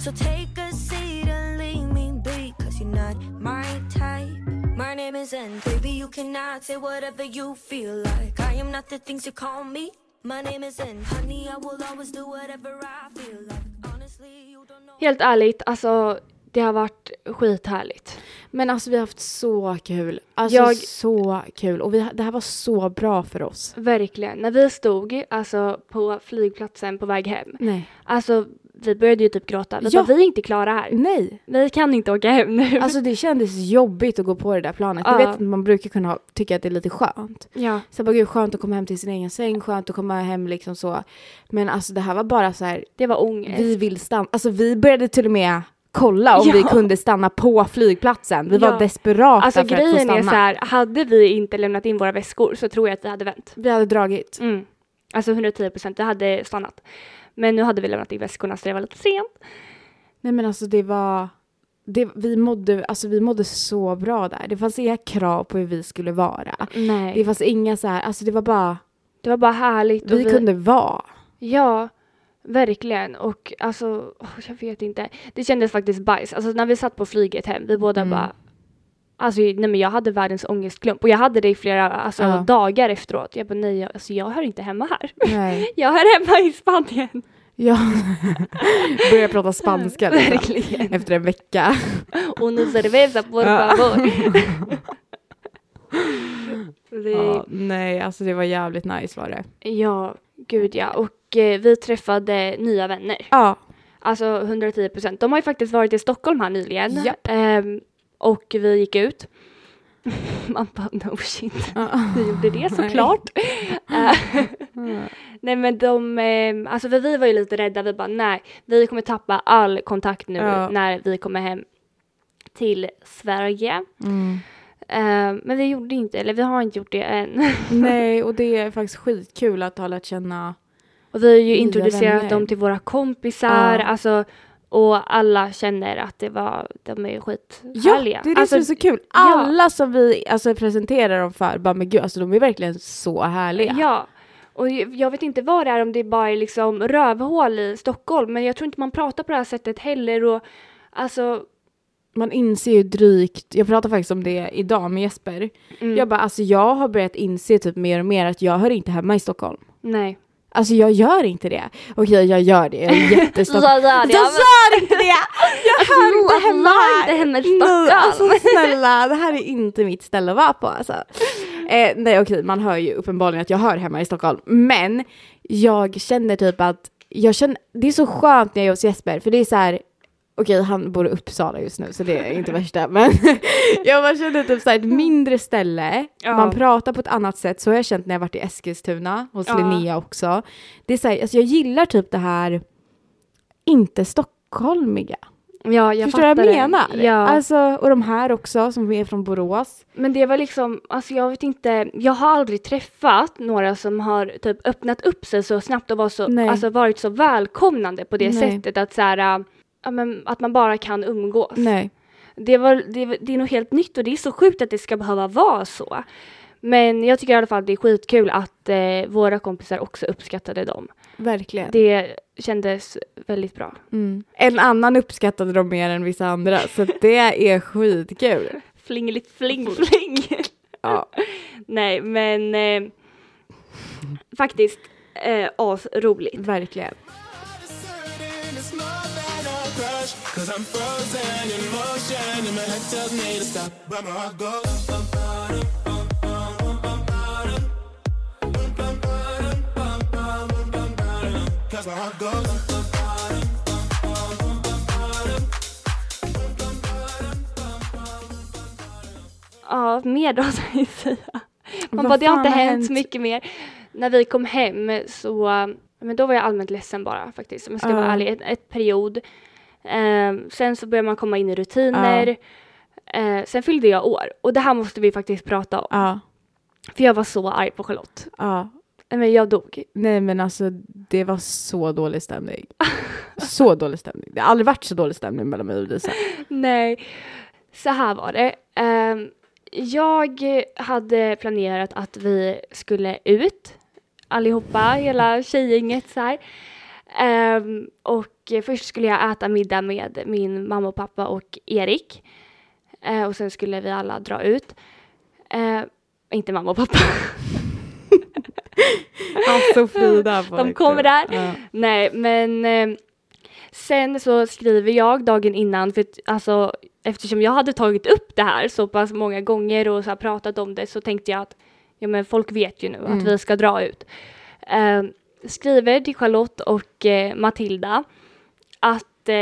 [SPEAKER 3] So take a seat and leave me be, cause you're not my type. My name is N, baby, you cannot say whatever you feel like. I am not the things you call me. My name is N, honey, I will always do whatever I feel like. Honestly, you don't know.
[SPEAKER 1] Helt ärligt, alltså Det har varit skithärligt.
[SPEAKER 2] Men alltså vi har haft så kul. Alltså
[SPEAKER 1] Jag-
[SPEAKER 2] så kul. Och vi, ha- det här var så bra för oss.
[SPEAKER 1] Verkligen. När vi stod alltså, på flygplatsen på väg hem,
[SPEAKER 2] Nej.
[SPEAKER 1] alltså vi började ju typ gråta. Vi
[SPEAKER 2] Ja.
[SPEAKER 1] bara, vi är inte klara här.
[SPEAKER 2] Nej.
[SPEAKER 1] Vi kan inte åka hem nu.
[SPEAKER 2] Alltså det kändes jobbigt att gå på det där planet.
[SPEAKER 1] Ja.
[SPEAKER 2] Du vet, man brukar kunna ha, tycka att det är lite skönt.
[SPEAKER 1] ja.
[SPEAKER 2] Så jag bara, gud skönt att komma hem till sin egen säng, skönt att komma hem liksom så. Men alltså det här var bara så här,
[SPEAKER 1] Det var ångest.
[SPEAKER 2] vi vill stanna. Alltså vi började till och med kolla om
[SPEAKER 1] Eh. Ja.
[SPEAKER 2] vi kunde stanna på flygplatsen. Vi
[SPEAKER 1] Ja.
[SPEAKER 2] var desperata
[SPEAKER 1] Alltså
[SPEAKER 2] för att få
[SPEAKER 1] grejen
[SPEAKER 2] stanna.
[SPEAKER 1] är så här, hade vi inte lämnat in våra väskor så tror jag att vi hade vänt.
[SPEAKER 2] Vi hade dragit.
[SPEAKER 1] Mm. Alltså 110 procent, det hade stannat. Men nu hade vi lämnat in väskorna så det var lite sent.
[SPEAKER 2] Nej men alltså det var, det, vi, mådde, alltså, vi mådde så bra där. Det fanns inga krav på hur vi skulle vara.
[SPEAKER 1] Nej.
[SPEAKER 2] Det fanns inga så här, alltså det var bara,
[SPEAKER 1] Det var bara härligt.
[SPEAKER 2] vi, kunde vara.
[SPEAKER 1] Ja, verkligen. Och alltså, åh, jag vet inte. Det kändes faktiskt bajs. Alltså när vi satt på flyget hem, vi båda
[SPEAKER 2] Mm.
[SPEAKER 1] bara... Alltså nej men jag hade världens ångestklump och jag hade det i flera alltså,
[SPEAKER 2] Ja.
[SPEAKER 1] dagar efteråt. Jag bara nej, jag, alltså, jag hör inte hemma här. *laughs*
[SPEAKER 2] Nej.
[SPEAKER 1] Jag hör hemma i Spanien.
[SPEAKER 2] *laughs* Jag började
[SPEAKER 1] *laughs*
[SPEAKER 2] prata spanska liksom,
[SPEAKER 1] Verkligen.
[SPEAKER 2] efter en vecka.
[SPEAKER 1] *laughs* Och nu cerveza por
[SPEAKER 2] Ja. *laughs*
[SPEAKER 1] favor. Vi-
[SPEAKER 2] Ja, nej, alltså det var jävligt nice var det.
[SPEAKER 1] Ja, gud ja. Och eh, vi träffade nya vänner.
[SPEAKER 2] Ja,
[SPEAKER 1] Alltså 110 procent. De har ju faktiskt varit i Stockholm här nyligen.
[SPEAKER 2] Japp.
[SPEAKER 1] Ehm, och vi gick ut. *laughs* Man bara no shit, vi gjorde
[SPEAKER 2] *laughs*
[SPEAKER 1] det såklart. Eh, nej men de, ehm, alltså för vi var ju lite rädda, vi bara nej, vi kommer tappa all kontakt nu
[SPEAKER 2] Ja.
[SPEAKER 1] när vi kommer hem till Sverige. Mm. Ehm, men vi gjorde inte, eller vi har inte gjort det än. *laughs*
[SPEAKER 2] nej, och det är faktiskt skitkul att ha lärt känna.
[SPEAKER 1] Och vi har ju
[SPEAKER 2] Nya
[SPEAKER 1] introducerat
[SPEAKER 2] vänner.
[SPEAKER 1] dem till våra kompisar,
[SPEAKER 2] Ja.
[SPEAKER 1] alltså och alla känner att det var, de är ju
[SPEAKER 2] Ja,
[SPEAKER 1] skithärliga.
[SPEAKER 2] det är det
[SPEAKER 1] alltså,
[SPEAKER 2] som är så kul. Alla som vi alltså, presenterar dem för, bara men gud, alltså de är verkligen så härliga.
[SPEAKER 1] Ja. Och ju- jag vet inte vad det är, om det bara är liksom rövhål i Stockholm, men jag tror inte man pratar på det här sättet heller och alltså...
[SPEAKER 2] Man inser ju drygt, jag pratade faktiskt om det idag med Jesper.
[SPEAKER 1] Mm,
[SPEAKER 2] Jag bara, alltså jag har börjat inse typ mer och mer att jag hör inte hemma i Stockholm.
[SPEAKER 1] nej.
[SPEAKER 2] Alltså jag gör inte det. Okej, jag gör det. Jag är
[SPEAKER 1] *laughs*
[SPEAKER 2] jättestolt.
[SPEAKER 1] Jag gör det,
[SPEAKER 2] Jag
[SPEAKER 1] men-
[SPEAKER 2] gör inte det! Jag hör
[SPEAKER 1] *laughs*
[SPEAKER 2] inte hemma
[SPEAKER 1] Jag
[SPEAKER 2] här.
[SPEAKER 1] inte hemma i
[SPEAKER 2] Nej, alltså
[SPEAKER 1] Stockholm.
[SPEAKER 2] snälla, det här är inte mitt ställe att vara
[SPEAKER 1] *laughs*
[SPEAKER 2] på alltså. Eh, nej okej, man hör ju uppenbarligen att jag hör hemma i Stockholm. Men jag känner typ att, jag känner, det är så skönt när jag är hos Jesper för det är så här. Okej, han bor i Uppsala just nu så det är inte värsta *laughs* men jag bara känner typ såhär ett mindre ställe,
[SPEAKER 1] Mm. Ja.
[SPEAKER 2] man pratar på ett annat sätt. Så har jag känt när jag varit i Eskilstuna hos
[SPEAKER 1] Ja.
[SPEAKER 2] Linnea också. Det är så här, alltså jag gillar typ det här inte stockholmiga.
[SPEAKER 1] Ja, jag
[SPEAKER 2] Förstår du vad
[SPEAKER 1] fattar
[SPEAKER 2] jag
[SPEAKER 1] det.
[SPEAKER 2] menar?
[SPEAKER 1] Ja.
[SPEAKER 2] Alltså, och de här också som är från Borås.
[SPEAKER 1] Men det var liksom, alltså jag vet inte, jag har aldrig träffat några som har typ öppnat upp sig så snabbt och var så,
[SPEAKER 2] Nej.
[SPEAKER 1] alltså varit så välkomnande på det
[SPEAKER 2] Nej.
[SPEAKER 1] sättet att så här, äh, ja, men, att man bara kan umgås.
[SPEAKER 2] Nej.
[SPEAKER 1] Det, var, det, det är något helt nytt och det är så sjukt att det ska behöva vara så. Men jag tycker i alla fall det är skitkul att eh, våra kompisar också uppskattade dem.
[SPEAKER 2] Verkligen.
[SPEAKER 1] Det kändes väldigt bra.
[SPEAKER 2] Mm. En annan uppskattade de mer än vissa *laughs* andra så det är skitkul.
[SPEAKER 1] Flingeligt fling fling.
[SPEAKER 2] Ja.
[SPEAKER 1] *laughs* Nej men eh, faktiskt eh, asroligt.
[SPEAKER 2] Verkligen.
[SPEAKER 5] Cause I'm frozen in motion and my head tells me to stop, but my heart goes. Cause my heart goes.
[SPEAKER 1] Ja, mer då *laughs* ska jag säga. Man
[SPEAKER 2] Vad
[SPEAKER 1] bara, det har
[SPEAKER 2] fan
[SPEAKER 1] inte
[SPEAKER 2] har
[SPEAKER 1] hänt så
[SPEAKER 2] hänt?
[SPEAKER 1] mycket mer. När vi kom hem så, men då var jag allmänt ledsen bara faktiskt om jag ska
[SPEAKER 2] Ja.
[SPEAKER 1] vara ärlig, ett, ett period. Ehm, sen så började man komma in i rutiner. Eh, sen fyllde jag år och det här måste vi faktiskt prata om.
[SPEAKER 2] Ja.
[SPEAKER 1] För jag var så arg på Charlotte.
[SPEAKER 2] ja.
[SPEAKER 1] Nej, Men jag dog.
[SPEAKER 2] Nej men alltså det var så dålig stämning. Så dålig stämning. Det har aldrig varit så dålig stämning mellan mig och Lisa.
[SPEAKER 1] *laughs* Nej, så här var det. Ehm, jag hade planerat att vi skulle ut allihopa, hela tjejgänget så här. Ehm, och eh, först skulle jag äta middag med min mamma och pappa och Erik. Eh, och sen skulle vi alla dra ut. Eh, inte mamma och pappa. *laughs*
[SPEAKER 2] Alltså Frida. var
[SPEAKER 1] De
[SPEAKER 2] det
[SPEAKER 1] kommer
[SPEAKER 2] kul.
[SPEAKER 1] där.
[SPEAKER 2] Ja.
[SPEAKER 1] Nej, men eh, Sen så skriver jag dagen innan, för att, alltså, eftersom jag hade tagit upp det här så pass många gånger och så här, pratat om det så tänkte jag att ja, men folk vet ju nu att vi ska dra ut. Eh, skriver till Charlotte och eh, Matilda att eh,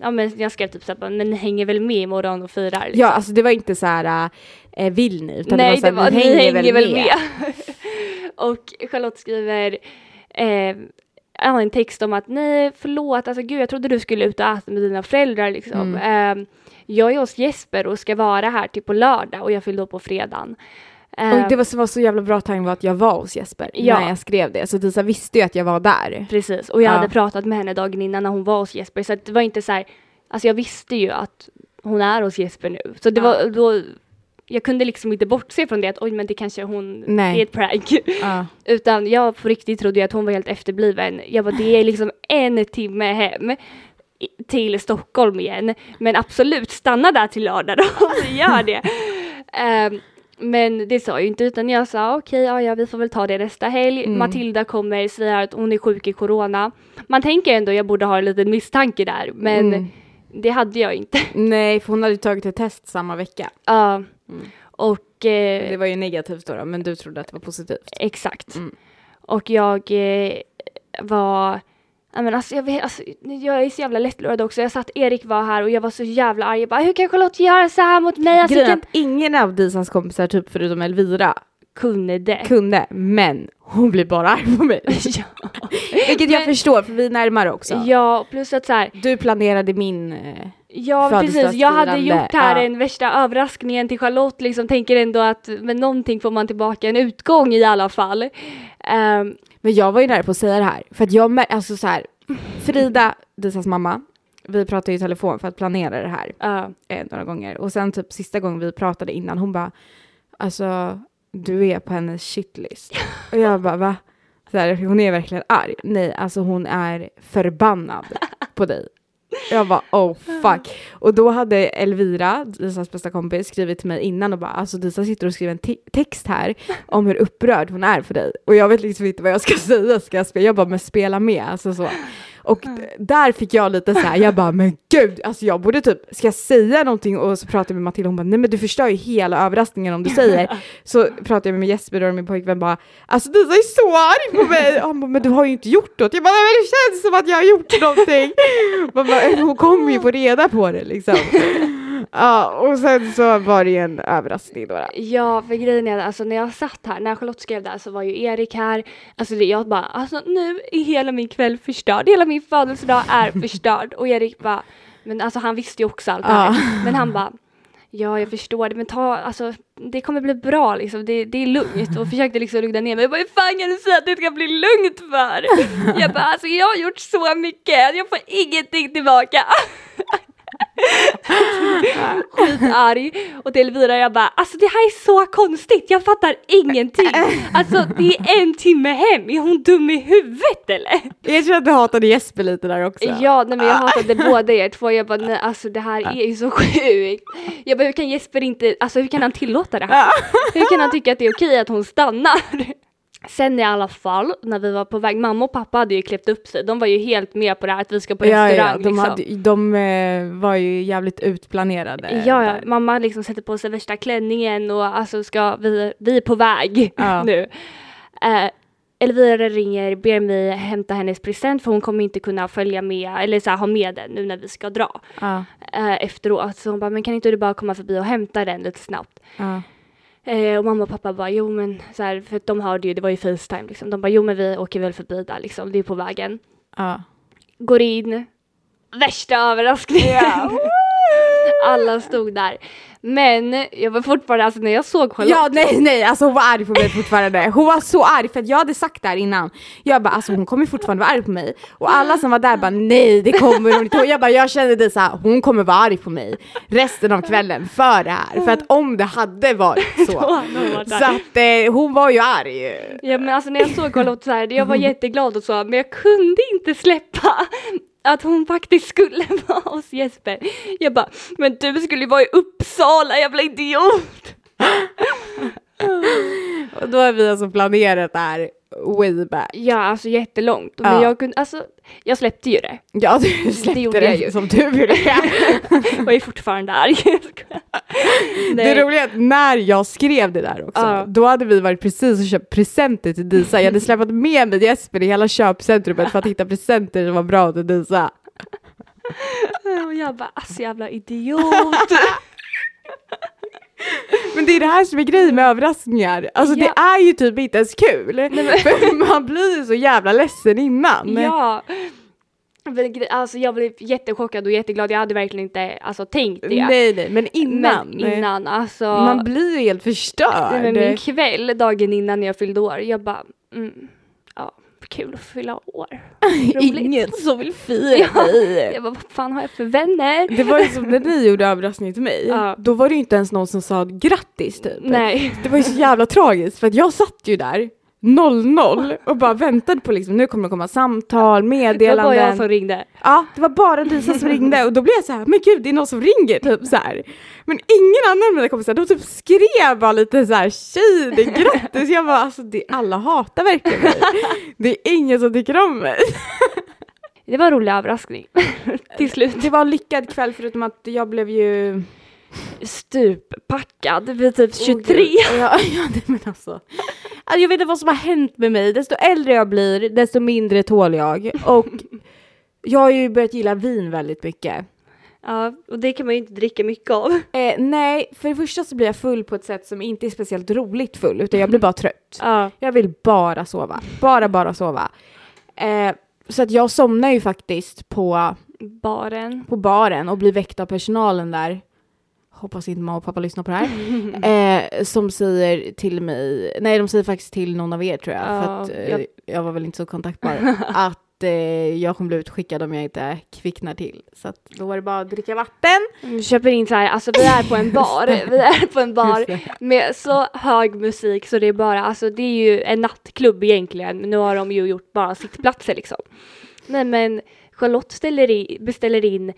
[SPEAKER 1] ja, men jag skrev typ så här, bara, men ni hänger väl med imorgon och firar?
[SPEAKER 2] Ja, alltså det var inte så här, eh, vill ni? Utan
[SPEAKER 1] Nej,
[SPEAKER 2] det var, så här,
[SPEAKER 1] ni hänger, väl med. *laughs* och Charlotte skriver eh, ja, en text om att nej, förlåt, alltså gud, jag trodde du skulle ut och äta med dina föräldrar
[SPEAKER 2] Mm.
[SPEAKER 1] liksom. Eh, jag är hos Jesper och ska vara här till på lördag och jag fyllde då på fredagen. Eh,
[SPEAKER 2] Och det var, som var så jävla bra timing var att jag var hos Jesper
[SPEAKER 1] Ja.
[SPEAKER 2] när jag skrev det. Så Disa visste ju att jag var där.
[SPEAKER 1] Precis, och jag
[SPEAKER 2] Ja.
[SPEAKER 1] hade pratat med henne dagen innan när hon var hos Jesper så att det var inte så här, alltså jag visste ju att hon är hos Jesper nu. Så det var då, jag kunde liksom inte bortse från det att oj men det kanske hon,
[SPEAKER 2] Nej.
[SPEAKER 1] det är ett prank.
[SPEAKER 2] Ja.
[SPEAKER 1] Utan jag på riktigt trodde ju att hon var helt efterbliven. Jag bara, det är liksom en timme hem i- till Stockholm igen. Men absolut, stanna där till lördag då, *laughs* om vi gör det. Ehm, men det sa jag ju inte utan jag sa okej, ja, ja vi får väl ta det nästa helg. Matilda kommer säga att hon är sjuk i corona. Man tänker ändå jag borde ha en liten misstanke där, men
[SPEAKER 2] Mm.
[SPEAKER 1] det hade jag inte.
[SPEAKER 2] Nej, för hon hade ju tagit ett test samma vecka.
[SPEAKER 1] Ja. Och eh,
[SPEAKER 2] Det var ju negativt då, då men du trodde att det var positivt.
[SPEAKER 1] Exakt.
[SPEAKER 2] Mm.
[SPEAKER 1] Och jag eh, var, jag, men alltså, jag, vet, alltså, jag är så jävla lättlurad också. Jag satt, Erik var här och jag var så jävla arg. Jag bara, hur kan Charlotte göra så här mot mig? Alltså, jag
[SPEAKER 2] Grejen är
[SPEAKER 1] kan...
[SPEAKER 2] att ingen av Disans kompisar, typ förutom Elvira,
[SPEAKER 1] Kunde.
[SPEAKER 2] kunde, men hon blir bara arg på mig.
[SPEAKER 1] *laughs* ja.
[SPEAKER 2] Vilket jag förstår, för vi är närmare också.
[SPEAKER 1] ja, plus att så här,
[SPEAKER 2] Du planerade min... eh,
[SPEAKER 1] ja precis, jag hade
[SPEAKER 2] Födelsedagsfirande,
[SPEAKER 1] gjort här
[SPEAKER 2] ja.
[SPEAKER 1] den värsta överraskningen till Charlotte, liksom tänker ändå att med någonting får man tillbaka en utgång i alla fall. Ehm,
[SPEAKER 2] Men jag var ju nära på att säga det här, för att jag mär- alltså så här, Frida, Disas mamma, vi pratade ju i telefon för att planera det här
[SPEAKER 1] ja.
[SPEAKER 2] eh, några gånger. Och sen typ sista gången vi pratade innan, hon bara, alltså du är på hennes shitlist. Och jag bara, va? Så här, hon är verkligen arg. Nej, alltså hon är förbannad på dig. Jag bara, oh fuck. Och då hade Elvira, Disas bästa kompis, skrivit till mig innan och bara, alltså Disa sitter och skriver en te- text här om hur upprörd hon är för dig. Och jag vet liksom inte vad jag ska *laughs* säga, ska jag spela? Jag bara, men spela med, alltså så. Och d- där fick jag lite så här, jag bara, men gud, alltså jag borde typ, ska jag säga någonting? Och så pratade jag med Matilda, hon bara, nej men du förstör ju hela överraskningen om du säger. Så pratade jag med Jesper, då, min pojkvän, bara, alltså Disa är så arg på mig. Och Han bara, men du har ju inte gjort något. Jag bara, nej men det känns som att jag har gjort någonting. Man bara, hon kommer ju få reda på det liksom. Ja, och sen så var det ju en överraskning då. då.
[SPEAKER 1] Ja, för grejen är att, alltså, när jag satt här, när Charlotte skrev det här så var ju Erik här. Alltså det, jag bara, alltså nu är hela min kväll förstörd, hela min födelsedag är förstörd. Och Erik bara, men alltså han visste ju också allt det här. Men han bara, ja jag förstår det, men ta, alltså det kommer bli bra liksom, det, det är lugnt. Och försökte liksom lugna ner mig. Jag bara, hur fan kan du säga att det ska bli lugnt för? Jag bara, alltså jag har gjort så mycket, jag får ingenting tillbaka skitarg och till Elvira jag bara alltså det här är så konstigt jag fattar ingenting. Alltså det är en timme hem, är hon dum i huvudet eller?
[SPEAKER 2] Jag tror att du hatade Jesper lite där också.
[SPEAKER 1] Ja nej men
[SPEAKER 2] Ah.
[SPEAKER 1] jag hatade båda er två, jag bara nej alltså det här är ju så sjukt. Jag bara hur kan Jesper inte, alltså hur kan han tillåta det här? Hur kan han tycka att det är okej att hon stannar? Sen i alla fall, när vi var på väg, mamma och pappa hade ju kläppt upp sig, de var ju helt med på det här att vi ska på
[SPEAKER 2] Ja,
[SPEAKER 1] restaurang.
[SPEAKER 2] ja, de,
[SPEAKER 1] liksom.
[SPEAKER 2] hade, de eh, var ju jävligt utplanerade.
[SPEAKER 1] Ja, ja.
[SPEAKER 2] eh, där.
[SPEAKER 1] mamma liksom sätter på sig värsta klänningen och alltså ska vi, vi är på väg *laughs*
[SPEAKER 2] Ja.
[SPEAKER 1] nu. Eh, Elvira ringer, ber mig hämta hennes present för hon kommer inte kunna följa med eller så här, ha med den nu när vi ska dra
[SPEAKER 2] Ja,
[SPEAKER 1] eh, efteråt. Så hon bara, men kan inte du bara komma förbi och hämta den lite snabbt?
[SPEAKER 2] ja.
[SPEAKER 1] Eh, och mamma och pappa bara, jo men så här, för att de hörde ju, det var ju Facetime liksom. De bara, jo men vi åker väl förbi där liksom, det är på vägen.
[SPEAKER 2] ja.
[SPEAKER 1] Går in, värsta överraskningen. *laughs* Alla stod där. Men jag var fortfarande, alltså när jag såg Charlotte.
[SPEAKER 2] Ja, nej, nej, alltså hon var arg på mig fortfarande. Hon var så arg för att jag hade sagt det här innan. Jag bara, alltså hon kommer fortfarande vara arg på mig. Och alla som var där bara, nej det kommer hon inte. Och jag bara, jag kände det så här, hon kommer vara arg på mig resten av kvällen för det här. För att om det hade
[SPEAKER 1] *laughs*
[SPEAKER 2] varit
[SPEAKER 1] Då
[SPEAKER 2] så.
[SPEAKER 1] hade hon varit
[SPEAKER 2] Så
[SPEAKER 1] där.
[SPEAKER 2] att eh, hon var ju arg.
[SPEAKER 1] Ja men alltså när jag såg Charlotte så här, jag var jätteglad och så, men jag kunde inte släppa att hon faktiskt skulle *laughs* vara hos Jesper. Jag bara, men du skulle ju vara i Uppsala jävla idiot!
[SPEAKER 2] Och då har vi alltså planerat det här way back.
[SPEAKER 1] Ja, alltså jättelångt. Men
[SPEAKER 2] Ja.
[SPEAKER 1] jag kunde, alltså, jag släppte ju det.
[SPEAKER 2] Ja, du släppte
[SPEAKER 1] gjorde
[SPEAKER 2] det,
[SPEAKER 1] jag ju.
[SPEAKER 2] som tur ville.
[SPEAKER 1] Och är fortfarande arg. *laughs* Jag skojar.
[SPEAKER 2] Det roliga är att när jag skrev det där också,
[SPEAKER 1] Ja.
[SPEAKER 2] då hade vi varit precis och köpt presenter till Disa. Jag hade släpat med mig Jesper i hela köpcentrumet för att hitta presenter som var bra till Disa.
[SPEAKER 1] Och jag bara, alltså jävla idiot.
[SPEAKER 2] Men det är det här som är grejen med överraskningar. Alltså
[SPEAKER 1] Ja.
[SPEAKER 2] det är ju typ inte ens kul. För man blir ju så jävla ledsen innan.
[SPEAKER 1] Ja. Men gre- Alltså jag blev jättechockad och jätteglad. Jag hade verkligen inte alltså, tänkt det.
[SPEAKER 2] Nej, nej, men innan.
[SPEAKER 1] Men innan alltså.
[SPEAKER 2] Man blir ju helt förstörd.
[SPEAKER 1] nej, men min kväll dagen innan när jag fyllde år. Jag bara, mm, ja, kul att fylla år. Roligt.
[SPEAKER 2] som vill fira
[SPEAKER 1] Ja. *laughs*
[SPEAKER 2] dig.
[SPEAKER 1] Jag bara, vad fan har jag för vänner?
[SPEAKER 2] Det var ju som när ni gjorde överraskning till mig,
[SPEAKER 1] Ja.
[SPEAKER 2] då var det ju inte ens någon som sa grattis typ.
[SPEAKER 1] Nej.
[SPEAKER 2] Det var ju så jävla tragiskt för att jag satt ju där 00 och bara väntade på liksom, nu kommer det komma samtal,
[SPEAKER 1] Det var bara jag
[SPEAKER 2] meddelanden.
[SPEAKER 1] som ringde.
[SPEAKER 2] Ja, det var bara Disa som ringde och då blev jag så här, men gud det är någon som ringer typ så här. Men ingen annan av mina kompisar, de typ skrev bara lite så här, tjej det är grattis. Jag bara alltså det, alla hatar verkligen mig. Det är ingen som tycker om mig.
[SPEAKER 1] Det var en rolig överraskning. *laughs* Till slut.
[SPEAKER 2] Det var en lyckad kväll förutom att jag blev ju
[SPEAKER 1] Stuppackad vid typ 23.
[SPEAKER 2] Oh, Ja, ja nej, men alltså. alltså. Jag vet inte vad som har hänt med mig. Desto äldre jag blir, desto mindre tål jag. Och jag har ju börjat gilla vin väldigt mycket.
[SPEAKER 1] ja, och det kan man ju inte dricka mycket av.
[SPEAKER 2] Eh, nej, för det första så blir jag full på ett sätt som inte är speciellt roligt full, utan jag blir bara trött.
[SPEAKER 1] Ja.
[SPEAKER 2] Jag vill bara sova. Bara, bara sova. Eh, så att jag somnar ju faktiskt på,
[SPEAKER 1] Baren.
[SPEAKER 2] på baren och blir väckt av personalen där. Hoppas inte mamma och pappa lyssnar på det här. *laughs* Eh, som säger till mig, nej de säger faktiskt till någon av er tror jag,
[SPEAKER 1] Ja,
[SPEAKER 2] för att eh,
[SPEAKER 1] jag-
[SPEAKER 2] jag... var väl inte så *laughs* kontaktbar, att eh, jag kommer bli utskickad om jag inte kvicknar till. Så att då var det bara att dricka vatten.
[SPEAKER 1] Vi köper in så här, alltså vi är på *laughs* en bar, vi är på en bar med så hög musik så det är bara, alltså det är ju en nattklubb egentligen, men nu har de ju gjort bara sittplatser liksom. Nej men Charlotte ställer i, beställer in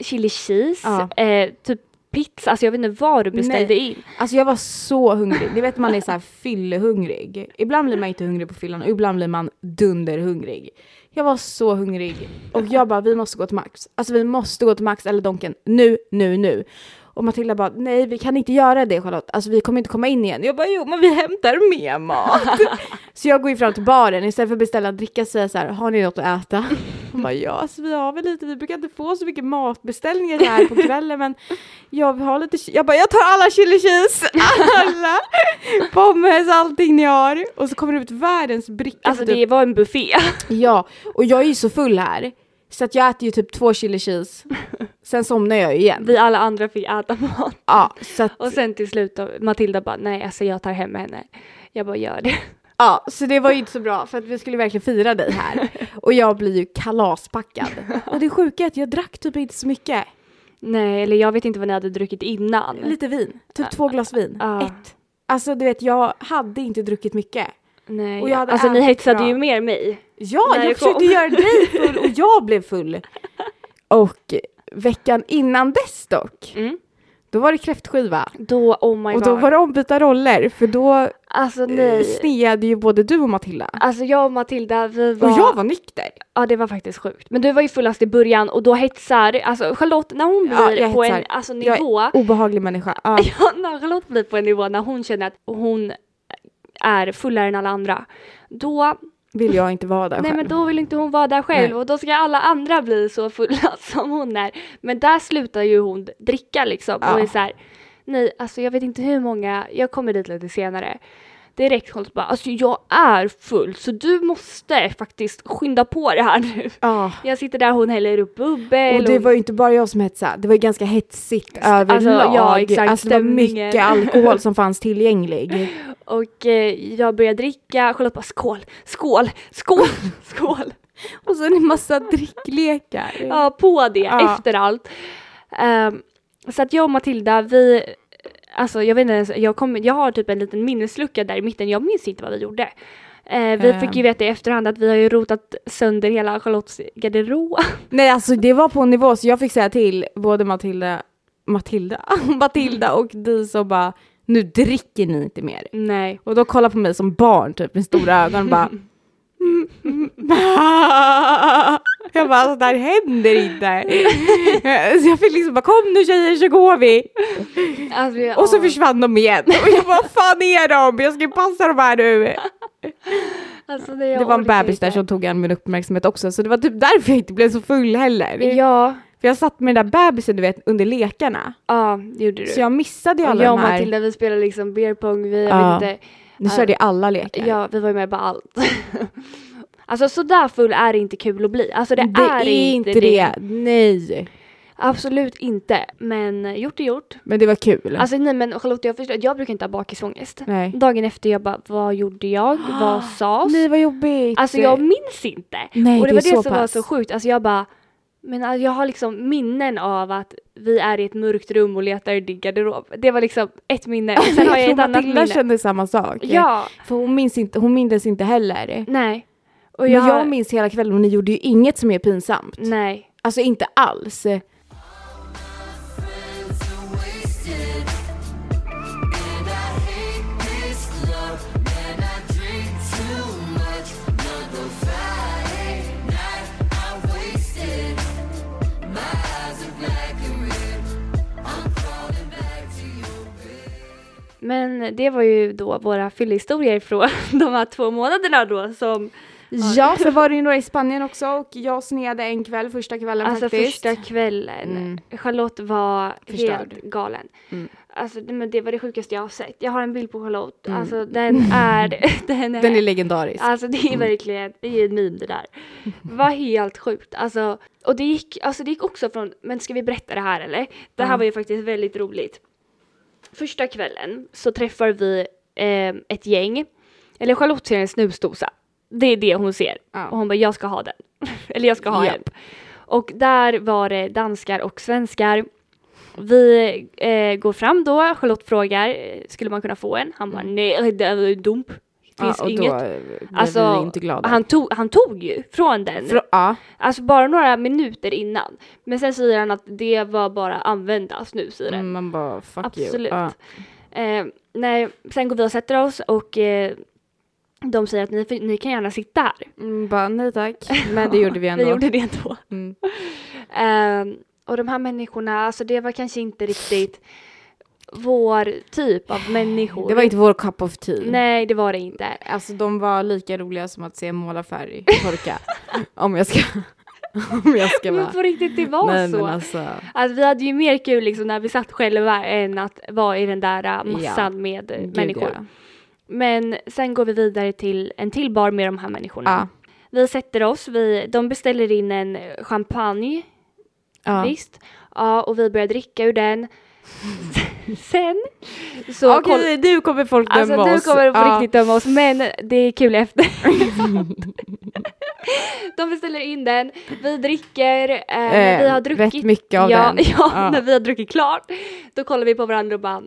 [SPEAKER 1] chili cheese, eh, typ pizza, alltså jag vet inte vad du beställde in.
[SPEAKER 2] Alltså jag var så hungrig, ni vet man är så här fyllehungrig. Ibland blir man inte hungrig på fyllan och ibland blir man dunderhungrig. Jag var så hungrig och jag bara vi måste gå till Max. Alltså vi måste gå till Max eller Donken nu, nu, nu. Och Matilda bara nej vi kan inte göra det Charlotte, alltså vi kommer inte komma in igen. Jag bara jo men vi hämtar
[SPEAKER 1] *laughs*
[SPEAKER 2] mer mat. så jag går ju fram till baren istället för att beställa en dricka säger jag så här har ni något att
[SPEAKER 1] *laughs*
[SPEAKER 2] äta? Hon bara ja alltså vi har väl lite, vi brukar inte få så mycket matbeställningar här på kvällen men jag vill ha lite, chi- jag bara jag tar alla chili cheese, *laughs* alla pommes, allting ni har. Och så kommer det ut världens bricka.
[SPEAKER 1] Alltså
[SPEAKER 2] för typ-
[SPEAKER 1] det var en buffé.
[SPEAKER 2] Ja, och jag är ju så full här. Så att jag äter ju typ två chili cheese, sen somnar jag ju igen.
[SPEAKER 1] *laughs* Vi alla andra fick äta mat.
[SPEAKER 2] Ja, så att
[SPEAKER 1] Och sen till slut då, Matilda bara nej alltså jag tar hem henne. Jag bara gör det.
[SPEAKER 2] Ja, så det var ju inte så bra för att vi skulle verkligen fira
[SPEAKER 1] *laughs*
[SPEAKER 2] dig här. Och jag blir ju kalaspackad. Och det sjuka är att jag drack typ inte så mycket.
[SPEAKER 1] Nej eller jag vet inte vad ni hade druckit innan.
[SPEAKER 2] Lite vin, typ två glas vin.
[SPEAKER 1] Ja.
[SPEAKER 2] Ett. Alltså du vet, jag hade inte druckit mycket.
[SPEAKER 1] Nej.
[SPEAKER 2] Och jag hade
[SPEAKER 1] alltså ni
[SPEAKER 2] ätit
[SPEAKER 1] hetsade
[SPEAKER 2] bra.
[SPEAKER 1] ju mer mig.
[SPEAKER 2] Ja,
[SPEAKER 1] När det
[SPEAKER 2] jag försökte
[SPEAKER 1] kom.
[SPEAKER 2] göra dig full och jag blev full.
[SPEAKER 1] *laughs*
[SPEAKER 2] Och veckan innan dess dock,
[SPEAKER 1] Mm.
[SPEAKER 2] då var det kräftskiva.
[SPEAKER 1] Då, oh my
[SPEAKER 2] Och
[SPEAKER 1] god.
[SPEAKER 2] då var det ombytta roller, för då
[SPEAKER 1] Alltså
[SPEAKER 2] eh,
[SPEAKER 1] nej.
[SPEAKER 2] sneade ju både du och Matilda.
[SPEAKER 1] Alltså jag och Matilda, vi var...
[SPEAKER 2] Och jag var nykter.
[SPEAKER 1] Ja det var faktiskt sjukt. Men du var ju fullast i början och då hetsar, alltså Charlotte när hon
[SPEAKER 2] Ja,
[SPEAKER 1] blir
[SPEAKER 2] jag
[SPEAKER 1] på en
[SPEAKER 2] hetsar.
[SPEAKER 1] alltså,
[SPEAKER 2] Jag är
[SPEAKER 1] nivå, *laughs*
[SPEAKER 2] obehaglig människa. Ja.
[SPEAKER 1] ja, när Charlotte blir på en nivå när hon känner att hon är fullare än alla andra, då,
[SPEAKER 2] Vill jag inte vara där
[SPEAKER 1] nej
[SPEAKER 2] själv.
[SPEAKER 1] men då vill inte hon vara där själv
[SPEAKER 2] Nej.
[SPEAKER 1] och då ska alla andra bli så fulla *laughs* som hon är. Men där slutar ju hon dricka liksom
[SPEAKER 2] Ja.
[SPEAKER 1] och är så här, nej alltså jag vet inte hur många, jag kommer dit lite senare. Direkt Charlotte bara, alltså jag är full så du måste faktiskt skynda på det här nu. *laughs*
[SPEAKER 2] Ja.
[SPEAKER 1] Jag sitter där, hon häller upp bubbel.
[SPEAKER 2] Och det
[SPEAKER 1] hon-
[SPEAKER 2] var ju inte bara jag som hetsade, det var ju ganska hetsigt
[SPEAKER 1] Alltså,
[SPEAKER 2] överlag.
[SPEAKER 1] ja, exakt,
[SPEAKER 2] alltså, det var
[SPEAKER 1] stämningen.
[SPEAKER 2] mycket alkohol som
[SPEAKER 1] *laughs*
[SPEAKER 2] fanns tillgänglig.
[SPEAKER 1] och eh, jag började dricka, Charlotte bara skål, skål, skål, *laughs* skål.
[SPEAKER 2] Och så en massa dricklekar.
[SPEAKER 1] Ja, på det
[SPEAKER 2] Ja.
[SPEAKER 1] efter allt. Ehm, så att jag och Matilda, vi, eh, alltså jag vet inte ens, jag, kom, jag har typ en liten minneslucka där i mitten, jag minns inte vad vi gjorde. Eh, vi
[SPEAKER 2] Ehm.
[SPEAKER 1] fick ju veta i efterhand att vi har ju rotat sönder hela Charlottes
[SPEAKER 2] *laughs*
[SPEAKER 1] garderob.
[SPEAKER 2] Nej alltså det var på en *laughs* nivå så jag fick säga till både Matilda, Matilda, Matilda och Dis och bara nu dricker ni inte mer.
[SPEAKER 1] Nej.
[SPEAKER 2] Och då kollar på mig som barn typ med stora ögon och bara Jag bara, alltså det här händer inte. Så jag fick liksom bara, kom nu tjejer så går vi.
[SPEAKER 1] Alltså, vi-
[SPEAKER 2] Och så
[SPEAKER 1] ja.
[SPEAKER 2] försvann de igen. Och jag bara, vad fan är de? Jag ska ju passa de här nu.
[SPEAKER 1] Alltså, det, jag
[SPEAKER 2] Det var en
[SPEAKER 1] orkar
[SPEAKER 2] bebis där
[SPEAKER 1] inte.
[SPEAKER 2] som tog an min uppmärksamhet också, så det var typ därför jag inte blev så full heller.
[SPEAKER 1] Ja,
[SPEAKER 2] För jag satt med den där bebisen du vet, under lekarna.
[SPEAKER 1] ja, det gjorde du.
[SPEAKER 2] Så jag missade ju
[SPEAKER 1] och
[SPEAKER 2] alla
[SPEAKER 1] jag och
[SPEAKER 2] de här.
[SPEAKER 1] Matilda vi spelade liksom beer pong, vi,
[SPEAKER 2] Ja.
[SPEAKER 1] jag vet inte,
[SPEAKER 2] Ni körde ju alla lekar.
[SPEAKER 1] ja vi var ju med på allt. *laughs* alltså sådär full är det inte kul att bli, alltså det,
[SPEAKER 2] det är inte det. Nej.
[SPEAKER 1] Absolut inte, men gjort är gjort.
[SPEAKER 2] Men det var kul.
[SPEAKER 1] Alltså nej men Charlotte jag förstår, jag brukar inte ha bakisångest.
[SPEAKER 2] Nej.
[SPEAKER 1] Dagen efter jag bara, vad gjorde
[SPEAKER 2] *gasps*
[SPEAKER 1] jag? vad sades?
[SPEAKER 2] Nej vad jobbigt.
[SPEAKER 1] Alltså jag
[SPEAKER 2] *laughs*
[SPEAKER 1] minns inte.
[SPEAKER 2] Nej,
[SPEAKER 1] och det,
[SPEAKER 2] det
[SPEAKER 1] var
[SPEAKER 2] är
[SPEAKER 1] det
[SPEAKER 2] så
[SPEAKER 1] som var
[SPEAKER 2] pass.
[SPEAKER 1] så sjukt. Alltså jag bara, men alltså, jag har liksom minnen av att vi är i ett mörkt rum och letar i din garderob. Det var liksom ett minne. Och
[SPEAKER 2] *laughs*
[SPEAKER 1] sen har jag
[SPEAKER 2] tror
[SPEAKER 1] ett annat
[SPEAKER 2] Matilda
[SPEAKER 1] minne.
[SPEAKER 2] kände samma sak.
[SPEAKER 1] Ja,
[SPEAKER 2] För hon, minns inte, hon mindes inte heller.
[SPEAKER 1] nej. Och
[SPEAKER 2] Men
[SPEAKER 1] jag,
[SPEAKER 2] jag, minns hela kvällen och ni gjorde ju inget som är pinsamt.
[SPEAKER 1] Nej.
[SPEAKER 2] Alltså inte alls.
[SPEAKER 3] Friends are wasted, and I hate this club. And I drink too much. Another Friday night I wasted. My eyes are black and red. I'm crawling back to your bed.
[SPEAKER 1] Men det var ju då våra fyllhistorier från *laughs* de här två månaderna då som
[SPEAKER 2] Ja, så var det ju några i Spanien också och jag sneade en kväll, första kvällen
[SPEAKER 1] Alltså
[SPEAKER 2] faktiskt.
[SPEAKER 1] första kvällen.
[SPEAKER 2] Mm.
[SPEAKER 1] Charlotte var
[SPEAKER 2] Förstörd.
[SPEAKER 1] helt galen.
[SPEAKER 2] Mm.
[SPEAKER 1] Alltså det, men det var det sjukaste jag har sett. Jag har en bild på Charlotte. Alltså den
[SPEAKER 2] *laughs*
[SPEAKER 1] är... den är,
[SPEAKER 2] Mm. Den är legendarisk.
[SPEAKER 1] Alltså det
[SPEAKER 2] Mm.
[SPEAKER 1] är verkligen, det är en meme det
[SPEAKER 2] *laughs*
[SPEAKER 1] där. Var helt sjukt. Alltså, och det gick, alltså det gick också från, men ska vi berätta det här eller? Det här var ju faktiskt väldigt roligt. Första kvällen så träffar vi eh, ett gäng, eller Charlotte ser en snusdosa. Det är det hon ser.
[SPEAKER 2] Ja.
[SPEAKER 1] Och hon bara, jag ska ha den. *laughs* eller jag ska ha
[SPEAKER 2] Japp.
[SPEAKER 1] en. Och där var det danskar och svenskar. Vi eh, går fram då, Charlotte frågar, eh, skulle man kunna få en? Han bara, nej, det är dump. Det finns
[SPEAKER 2] Mm. ja, och
[SPEAKER 1] inget.
[SPEAKER 2] då eh, blev
[SPEAKER 1] Alltså,
[SPEAKER 2] vi inte glada.
[SPEAKER 1] Han, tog, han tog ju från den,
[SPEAKER 2] Frå- ja.
[SPEAKER 1] alltså bara några minuter innan. Men sen säger han att det var bara använda snus i den.
[SPEAKER 2] Mm, Man bara fuck you.
[SPEAKER 1] Absolut.
[SPEAKER 2] Ja.
[SPEAKER 1] Eh, nej, sen går vi och sätter oss och eh, de säger att ni, får- ni kan gärna sitta här.
[SPEAKER 2] Mm, bara nej tack. *laughs* Men det gjorde vi
[SPEAKER 1] *laughs*
[SPEAKER 2] ändå.
[SPEAKER 1] Vi gjorde det ändå.
[SPEAKER 2] Mm.
[SPEAKER 1] Eh, och de här människorna, alltså det var kanske inte riktigt vår typ av människor.
[SPEAKER 2] Det var inte vår cup of tea.
[SPEAKER 1] Nej, det var det inte.
[SPEAKER 2] Alltså de var lika roliga som att se målarfärg
[SPEAKER 1] *laughs*
[SPEAKER 2] torka. om jag ska... om jag ska
[SPEAKER 1] Men
[SPEAKER 2] vara...
[SPEAKER 1] på riktigt, det var
[SPEAKER 2] Nej
[SPEAKER 1] så.
[SPEAKER 2] men alltså.
[SPEAKER 1] Alltså, vi hade ju mer kul liksom, när vi satt själva än att vara i den där äh, massan med äh,
[SPEAKER 2] Gud,
[SPEAKER 1] människor.
[SPEAKER 2] ja.
[SPEAKER 1] Men sen går vi vidare till en till bar med de här människorna.
[SPEAKER 2] Ja.
[SPEAKER 1] Vi sätter oss, vi, de beställer in en champagne,
[SPEAKER 2] Ja.
[SPEAKER 1] visst? Ja, och vi börjar dricka ur den. *laughs* sen så...
[SPEAKER 2] Okej, du kommer folk döma
[SPEAKER 1] Alltså
[SPEAKER 2] oss.
[SPEAKER 1] du kommer på
[SPEAKER 2] Ja.
[SPEAKER 1] riktigt döma oss, men det är kul efter.
[SPEAKER 2] *laughs*
[SPEAKER 1] *laughs* de beställer in den, vi dricker, eh, när
[SPEAKER 2] Eh,
[SPEAKER 1] vi har druckit.
[SPEAKER 2] rätt mycket av
[SPEAKER 1] ja,
[SPEAKER 2] den.
[SPEAKER 1] *laughs* Ja,
[SPEAKER 2] Ja.
[SPEAKER 1] när vi har druckit klart, då kollar vi på varandra och bara